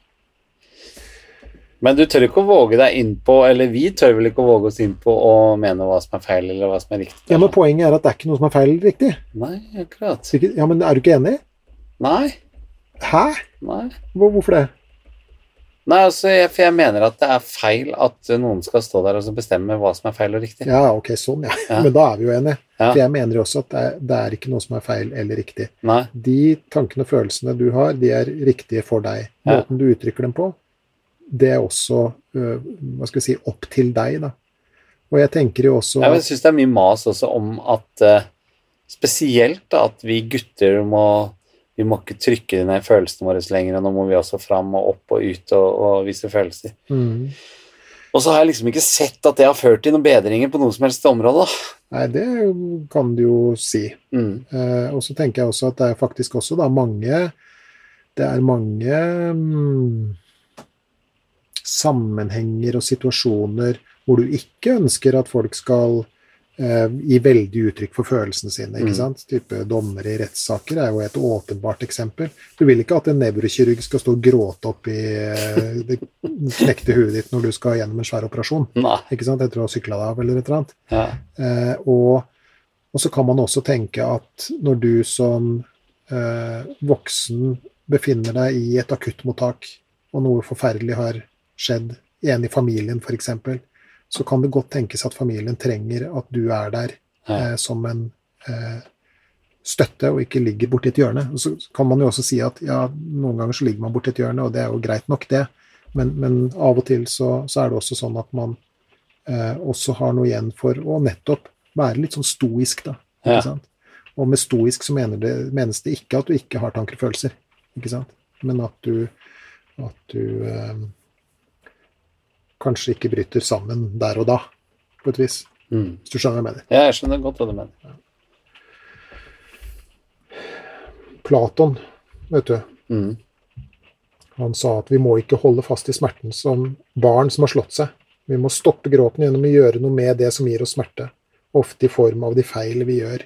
Speaker 1: Men du tør ikke å våge deg innpå, eller vi tør vel ikke å våge oss innpå å mene hva som er feil, eller hva som er riktig.
Speaker 2: Ja, men Poenget er at det er ikke noe som er feil eller riktig.
Speaker 1: Nei, akkurat.
Speaker 2: Så ikke- Ja, men Er du ikke enig?
Speaker 1: Nei.
Speaker 2: Hæ?
Speaker 1: Nei.
Speaker 2: Hvor- Hvorfor det?
Speaker 1: Nei, altså, jeg, for jeg mener at det er feil at noen skal stå der og så bestemme hva som er feil og riktig.
Speaker 2: Ja, ok, sånn, ja.
Speaker 1: Ja.
Speaker 2: Men da er vi jo enige.
Speaker 1: Ja.
Speaker 2: For jeg mener jo også at det er, det er ikke noe som er feil eller riktig.
Speaker 1: Nei.
Speaker 2: De tankene og følelsene du har, de er riktige for deg.
Speaker 1: Ja.
Speaker 2: Måten du uttrykker dem på, det er også øh, hva skal jeg si, opp til deg. da. Og jeg tenker jo også
Speaker 1: Jeg syns det er mye mas også om at eh, Spesielt da, at vi gutter må vi må ikke trykke ned følelsene våre lenger. og Nå må vi også fram og opp og ut og, og vise følelser.
Speaker 2: mm,
Speaker 1: Og så har jeg liksom ikke sett at det har ført til noen bedringer på noe som helst område. da.
Speaker 2: Nei, det kan du jo si.
Speaker 1: Mm.
Speaker 2: Eh, og så tenker jeg også at det er faktisk også da mange Det er mange mm, sammenhenger og situasjoner hvor du ikke ønsker at folk skal eh, gi veldig uttrykk for følelsene sine. ikke
Speaker 1: Mm.
Speaker 2: sant? Type dommere i rettssaker er jo et åpenbart eksempel. Du vil ikke at en nevrokirurg skal stå og gråte opp i eh, det knekte huet ditt når du skal gjennom en svær operasjon.
Speaker 1: Nei.
Speaker 2: ikke sant? Etter å ha sykla deg av eller et eller annet.
Speaker 1: Ja.
Speaker 2: Eh, og, og så kan man også tenke at når du som eh, voksen befinner deg i et akuttmottak, og noe forferdelig har skjedd, en i familien f.eks., så kan det godt tenkes at familien trenger at du er der eh, som en eh, støtte, og ikke ligger borti et hjørne. Og så kan man jo også si at ja, noen ganger så ligger man borti et hjørne, og det er jo greit nok, det, men, men av og til så, så er det også sånn at man eh, også har noe igjen for å nettopp være litt sånn stoisk, da. Ikke
Speaker 1: Ja.
Speaker 2: sant? Og med stoisk så mener det, menes det ikke at du ikke har tanker og følelser, ikke sant? men at du, at du eh, kanskje ikke bryter sammen der og da, på et vis.
Speaker 1: Mm.
Speaker 2: Hvis du skjønner hva jeg mener.
Speaker 1: ja, jeg skjønner godt hva du mener.
Speaker 2: Platon, vet du,
Speaker 1: Mm.
Speaker 2: han sa at vi må ikke holde fast i smerten som barn som har slått seg. Vi må stoppe gråten gjennom å gjøre noe med det som gir oss smerte, ofte i form av de feil vi gjør.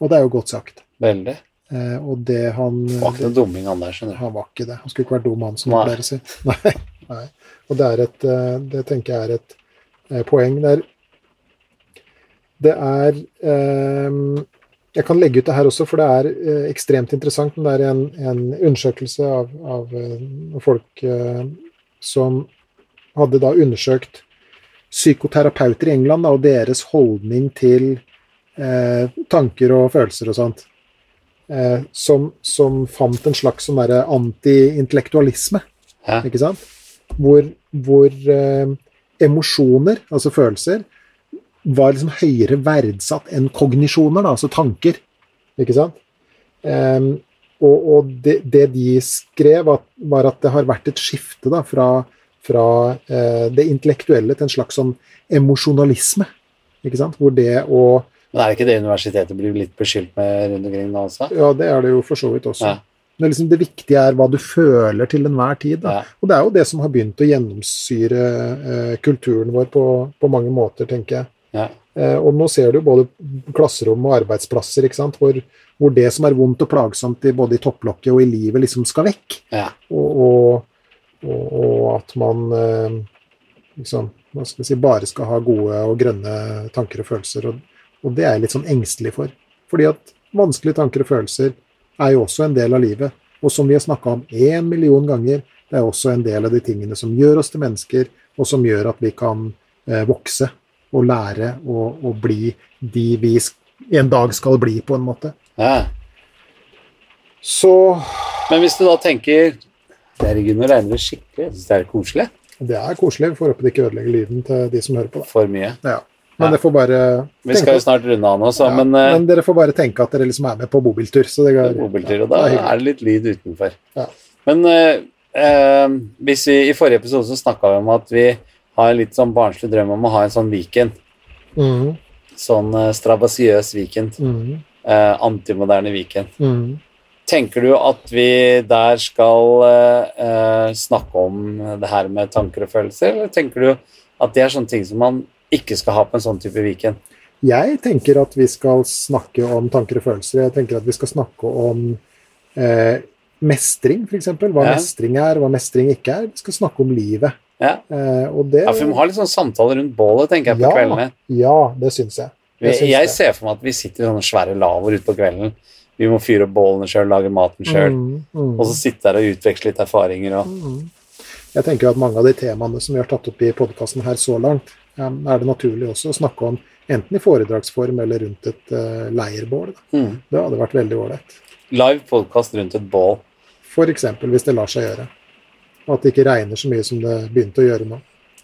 Speaker 2: Og det er jo godt sagt.
Speaker 1: Veldig.
Speaker 2: Eh, og det han
Speaker 1: Det var ikke noe dumming han der, skjønner du.
Speaker 2: Han var ikke det. Han skulle ikke vært dum, han som
Speaker 1: Nei.
Speaker 2: pleier å si. Nei. Nei. Og det er et eh, Det tenker jeg er et eh, poeng der. Det er eh, Jeg kan legge ut det her også, for det er eh, ekstremt interessant. Men det er en, en undersøkelse av, av eh, folk eh, som hadde da undersøkt psykoterapeuter i England da, og deres holdning til eh, tanker og følelser og sånt eh, som, som fant en slags sånn derre antiintellektualisme.
Speaker 1: Ja.
Speaker 2: Ikke sant? Hvor, hvor eh, emosjoner, altså følelser, var liksom høyere verdsatt enn kognisjoner, da, altså tanker. Ikke sant? Em, og og det, det de skrev, at, var at det har vært et skifte da, fra, fra eh, det intellektuelle til en slags sånn emosjonalisme. Ikke sant? Hvor det å
Speaker 1: Men er det ikke det universitetet blir litt beskyldt med rundt omkring nå også?
Speaker 2: Ja, det er det jo for så vidt også.
Speaker 1: Ja.
Speaker 2: Men liksom det viktige er hva du føler til enhver tid. Da.
Speaker 1: Ja.
Speaker 2: Og det er jo det som har begynt å gjennomsyre eh, kulturen vår på, på mange måter, tenker jeg.
Speaker 1: Ja.
Speaker 2: Eh, og nå ser du jo både klasserom og arbeidsplasser ikke sant? Hvor, hvor det som er vondt og plagsomt i, både i topplokket og i livet, liksom skal vekk.
Speaker 1: Ja.
Speaker 2: Og, og, og, og at man eh, liksom hva skal jeg si, bare skal ha gode og grønne tanker og følelser. Og, og det er jeg litt sånn engstelig for. Fordi at vanskelige tanker og følelser er jo også en del av livet. Og som vi har snakka om én million ganger, det er også en del av de tingene som gjør oss til mennesker, og som gjør at vi kan eh, vokse og lære og, og bli de vi sk- en dag skal bli, på en måte.
Speaker 1: ja.
Speaker 2: Så
Speaker 1: Men hvis du da tenker Herregud, nå regner det skikkelig. Jeg synes det er koselig.
Speaker 2: det er koselig. Vi får håpe det ikke ødelegger lyden til de som hører på.
Speaker 1: For mye.
Speaker 2: Da. Ja. Men
Speaker 1: Nei.
Speaker 2: det får bare
Speaker 1: Vi skal jo snart runde av nå, så,
Speaker 2: ja,
Speaker 1: men,
Speaker 2: men,
Speaker 1: eh,
Speaker 2: dere får bare tenke at dere liksom er med på bobiltur. Så det
Speaker 1: det
Speaker 2: går,
Speaker 1: er bobiltur, og
Speaker 2: ja,
Speaker 1: da
Speaker 2: det er hyggelig.
Speaker 1: er det litt lyd utenfor.
Speaker 2: Ja.
Speaker 1: Men eh, eh, hvis vi, i forrige episode så snakka vi om at vi har en litt sånn barnslig drøm om å ha en sånn Viken.
Speaker 2: Mhm,
Speaker 1: Sånn eh, strabasiøs Viken.
Speaker 2: mhm,
Speaker 1: Eh, antimoderne Viken.
Speaker 2: mhm.
Speaker 1: Tenker du at vi der skal eh, eh, snakke om det her med tanker og følelser, eller tenker du at det er sånne ting som man ikke skal ha på en sånn type Viken?
Speaker 2: Jeg tenker at vi skal snakke om tanker og følelser. Jeg tenker at vi skal snakke om eh, mestring, f.eks. Hva
Speaker 1: Ja.
Speaker 2: mestring er, hva mestring ikke er. Vi skal snakke om livet.
Speaker 1: Ja.
Speaker 2: Eh, og det
Speaker 1: Ja, for vi må ha litt sånn samtale rundt bålet, tenker jeg, på
Speaker 2: Ja.
Speaker 1: kveldene.
Speaker 2: Ja, det syns jeg.
Speaker 1: Vi,
Speaker 2: Jeg syns
Speaker 1: jeg
Speaker 2: det.
Speaker 1: ser for meg at vi sitter i sånne svære lavoer ute på kvelden. Vi må fyre opp bålene sjøl, lage maten sjøl,
Speaker 2: Mm, mm,
Speaker 1: og så sitte der og utveksle litt erfaringer og
Speaker 2: mm. Jeg tenker jo at mange av de temaene som vi har tatt opp i podkasten her så langt, em, er det naturlig også å snakke om enten i foredragsform eller rundt et eh, leirbål. Da.
Speaker 1: mm.
Speaker 2: Det hadde vært veldig ålreit.
Speaker 1: Live podkast rundt et bål.
Speaker 2: F.eks. hvis det lar seg gjøre. Og at det ikke regner så mye som det begynte å gjøre nå.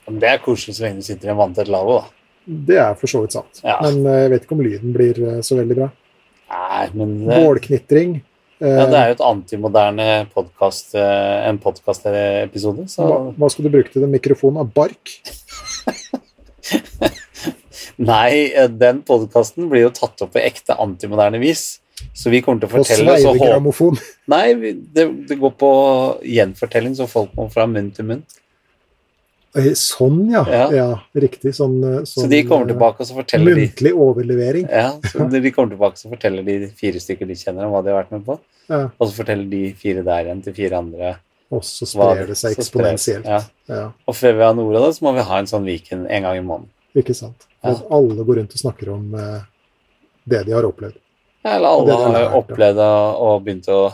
Speaker 1: Det er koselig så lenge du sitter i en vanntett lavvo, da.
Speaker 2: Det er for så vidt sant.
Speaker 1: Ja.
Speaker 2: Men eh, jeg vet ikke om lyden blir eh, så veldig bra.
Speaker 1: Nei, men det,
Speaker 2: Bålknitring. eh,
Speaker 1: ja, det er jo et antimoderne podkast, en podkastepisode, så
Speaker 2: hva, hva skal du bruke til den mikrofonen? da? Bark?
Speaker 1: Nei, eh, den podkasten blir jo tatt opp på ekte antimoderne vis. Så vi kommer til å
Speaker 2: Og
Speaker 1: fortelle så håp...
Speaker 2: sveivegrammofon?
Speaker 1: Nei, vi- det, det går på gjenfortelling, så folk må fra munn til munn.
Speaker 2: Eh, Sånn, ja. ja.
Speaker 1: Ja.
Speaker 2: riktig. Sånn, eh,
Speaker 1: Så
Speaker 2: sånn,
Speaker 1: de kommer
Speaker 2: eh,
Speaker 1: tilbake og så forteller de
Speaker 2: Muntlig overlevering.
Speaker 1: ja, så de kommer tilbake så forteller de fire stykker de kjenner, om hva de har vært med på.
Speaker 2: Ja.
Speaker 1: Og så forteller de fire der igjen til fire andre.
Speaker 2: Og så
Speaker 1: hva
Speaker 2: sprer det seg
Speaker 1: så sprer-
Speaker 2: eksponentielt.
Speaker 1: Ja.
Speaker 2: Ja,
Speaker 1: Og før vi har noe av det, så må vi ha en sånn Viken en gang i måneden.
Speaker 2: ikke sant.
Speaker 1: Ja.
Speaker 2: At alle går rundt og snakker om eh, det de har opplevd.
Speaker 1: Ja, Eller
Speaker 2: Og det
Speaker 1: alle
Speaker 2: er
Speaker 1: har
Speaker 2: lært,
Speaker 1: jo
Speaker 2: da.
Speaker 1: opplevd å- og begynt å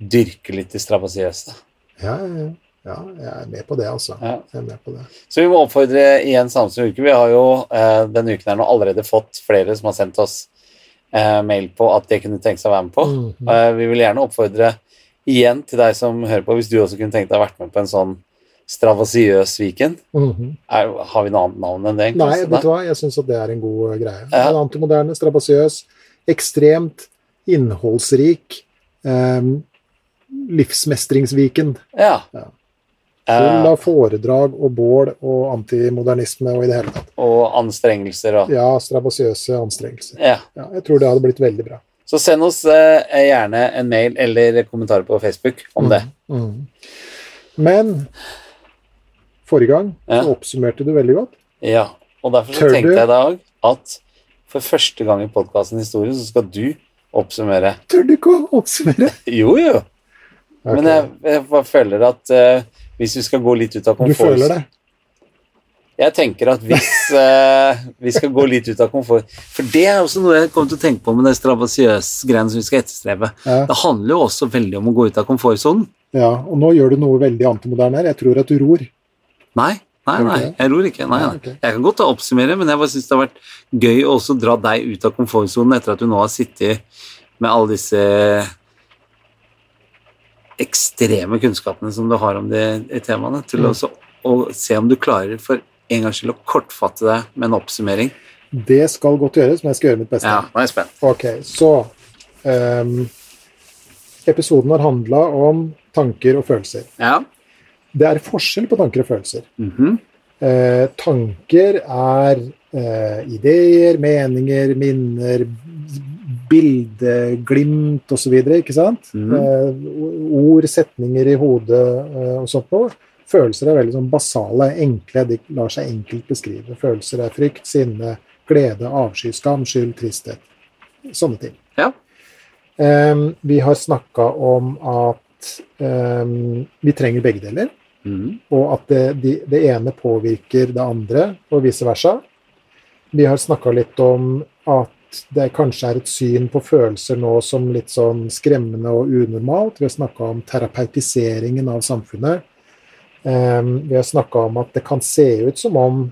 Speaker 1: dyrke litt det strabasiøse.
Speaker 2: Ja, ja, ja. ja, jeg er med på det, altså.
Speaker 1: Ja.
Speaker 2: Jeg er med på det.
Speaker 1: Så vi må oppfordre igjen Samsung uke. Vi har jo eh, denne uken her nå allerede fått flere som har sendt oss eh, mail på at de kunne tenke seg å være med på.
Speaker 2: Mhm.
Speaker 1: Eh, vi vil gjerne oppfordre igjen til deg som hører på, hvis du også kunne tenkt deg å vært med på en sånn stravasiøs Viken.
Speaker 2: Mhm.
Speaker 1: Er, har vi noe annet navn enn det? egentlig?
Speaker 2: Nei,
Speaker 1: Så
Speaker 2: vet du hva, jeg syns at det er en god eh, greie.
Speaker 1: Ja.
Speaker 2: En antimoderne, strabasiøs, ekstremt innholdsrik. eh, livsmestringsviken.
Speaker 1: Ja.
Speaker 2: Ja. Full
Speaker 1: Eh,
Speaker 2: av foredrag og bål og antimodernisme og i det hele tatt.
Speaker 1: og anstrengelser og
Speaker 2: Ja, strabasiøse anstrengelser.
Speaker 1: ja.
Speaker 2: Ja, jeg tror det hadde blitt veldig bra.
Speaker 1: Så send oss eh, gjerne en mail eller kommentarer på Facebook om det.
Speaker 2: Mm. Men forrige gang
Speaker 1: Ja.
Speaker 2: så oppsummerte du veldig godt.
Speaker 1: Ja, og derfor så
Speaker 2: Mm. Tør du?
Speaker 1: tenkte jeg i dag at for første gang i podkastens historie så skal du oppsummere.
Speaker 2: Tør du ikke å oppsummere?
Speaker 1: Jo, jo.
Speaker 2: Ok.
Speaker 1: Men jeg, jeg bare føler at eh, hvis vi skal gå litt ut av
Speaker 2: du
Speaker 1: komfort
Speaker 2: føler det?
Speaker 1: Jeg tenker at hvis eh, vi skal gå litt ut av komfort For det er også noe jeg kom til å tenke på med det strabasiøs-greiene som vi skal etterstrebe.
Speaker 2: Ja.
Speaker 1: Det handler jo også veldig om å gå ut av komfortsonen.
Speaker 2: ja. Og nå gjør du noe veldig antimoderne her. Jeg tror at du ror.
Speaker 1: Nei, nei,
Speaker 2: Gjør du
Speaker 1: nei.
Speaker 2: ikke det?
Speaker 1: Jeg ror ikke. Nei,
Speaker 2: Nei,
Speaker 1: nei.
Speaker 2: ok.
Speaker 1: Jeg kan godt da oppsummere, men jeg bare syns det har vært gøy å også dra deg ut av komfortsonen etter at du nå har sittet med alle disse ekstreme kunnskapene som du har om de de temaene, til
Speaker 2: Mm.
Speaker 1: også å se om du klarer for en gangs skyld å kortfatte deg med en oppsummering.
Speaker 2: Det skal godt gjøres, men jeg skal gjøre mitt beste.
Speaker 1: Ja, nå er jeg spent.
Speaker 2: Ok, så ehm, Episoden har handla om tanker og følelser.
Speaker 1: Ja.
Speaker 2: Det er forskjell på tanker og følelser.
Speaker 1: Mhm.
Speaker 2: Eh, tanker er eh, ideer, meninger, minner, bildeglimt osv. Ikke sant?
Speaker 1: Mhm.
Speaker 2: Eh, ord, setninger i hodet eh, og sånt noe. Følelser er veldig sånn basale, enkle. De lar seg enkelt beskrive. Følelser er frykt, sinne, glede, avsky, skam, skyld, tristhet. Sånne ting.
Speaker 1: Ja.
Speaker 2: Eh, vi har snakka om at eh, vi trenger begge deler
Speaker 1: Mhm.
Speaker 2: og at det, de, det ene påvirker det andre, og vice versa. Vi har snakka litt om at det kanskje er et syn på følelser nå som litt sånn skremmende og unormalt. Vi har snakka om terapeutiseringen av samfunnet. Ehm, vi har snakka om at det kan se ut som om,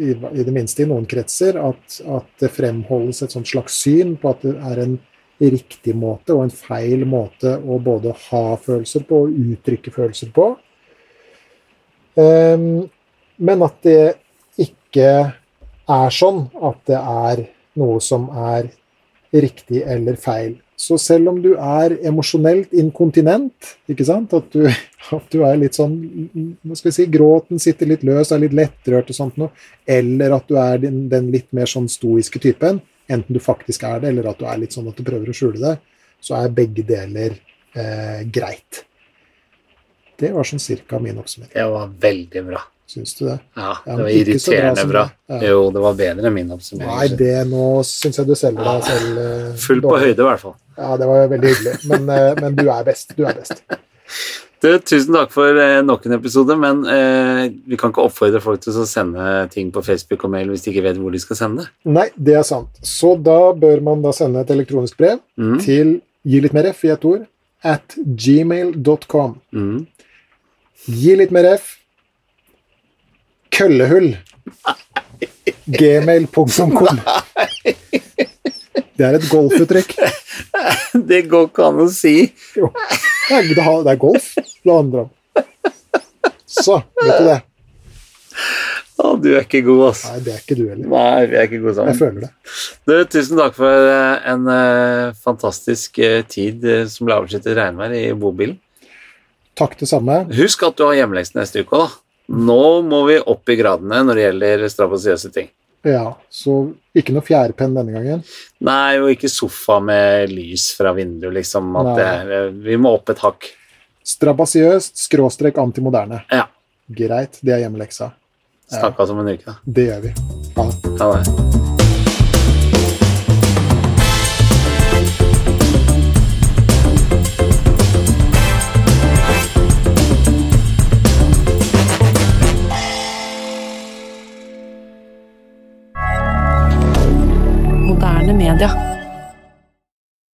Speaker 2: i, i det minste i noen kretser, at, at det fremholdes et sånt slags syn på at det er en riktig måte og en feil måte å både ha følelser på og uttrykke følelser på. Ehm, men at det ikke er sånn at det er noe som er riktig eller feil. Så selv om du er emosjonelt inkontinent, ikke sant? At, du, at du er litt sånn hva skal vi si, Gråten sitter litt løs, er litt lettrørt og sånt noe, eller at du er den, den litt mer sånn stoiske typen, enten du faktisk er det, eller at du er litt sånn at du prøver å skjule det, så er begge deler eh, greit. Det var sånn cirka min oppsummering.
Speaker 1: Det var veldig bra.
Speaker 2: Syns du det?
Speaker 1: Ja,
Speaker 2: Ja,
Speaker 1: det var
Speaker 2: men ikke så bra
Speaker 1: irriterende
Speaker 2: som
Speaker 1: bra.
Speaker 2: det. Ja.
Speaker 1: Jo, det var bedre enn min oppsummering.
Speaker 2: Nei, det nå syns jeg du selger deg selv eh,
Speaker 1: Fullt på
Speaker 2: dårlig.
Speaker 1: høyde, i hvert fall.
Speaker 2: Ja, det var veldig hyggelig. Men, eh, men du er best. Du er best.
Speaker 1: Du, tusen takk for eh, nok en episode, men eh, vi kan ikke oppfordre folk til å sende ting på Facebook og mail hvis de ikke vet hvor de skal sende det.
Speaker 2: Nei, det er sant. Så da bør man da sende et elektronisk brev
Speaker 1: Mm,
Speaker 2: til gi litt mer f i ett ord at gmail.com.
Speaker 1: mm.
Speaker 2: Gi litt mer f køllehull gmail.com. Det er et golfuttrykk.
Speaker 1: Det går ikke an å si.
Speaker 2: Jo. Det er, det har- det er golf det handler om. Så, vet du det.
Speaker 1: Å, du er ikke god, altså.
Speaker 2: Nei, det er ikke du heller.
Speaker 1: Nei, vi er ikke gode
Speaker 2: Jeg
Speaker 1: sammen.
Speaker 2: føler det.
Speaker 1: Du, tusen takk for eh, en eh, fantastisk eh, tid eh, som ble avslutt i regnvær i bobilen.
Speaker 2: Takk det samme.
Speaker 1: Husk at du har hjemmelekse neste uke òg. Nå må vi opp i gradene når det gjelder strabasiøse ting.
Speaker 2: Ja, så ikke noe fjærpenn denne gangen.
Speaker 1: Nei, og ikke sofa med lys fra vinduet, liksom. At
Speaker 2: Nei.
Speaker 1: det er, eh, vi må opp et hakk.
Speaker 2: Strabasiøst skråstrek antimoderne.
Speaker 1: Ja.
Speaker 2: Greit, det er hjemmeleksa.
Speaker 1: Snakkes om en uke, da.
Speaker 2: Det gjør vi. Ha det.
Speaker 1: Ha det.
Speaker 3: Moderne media.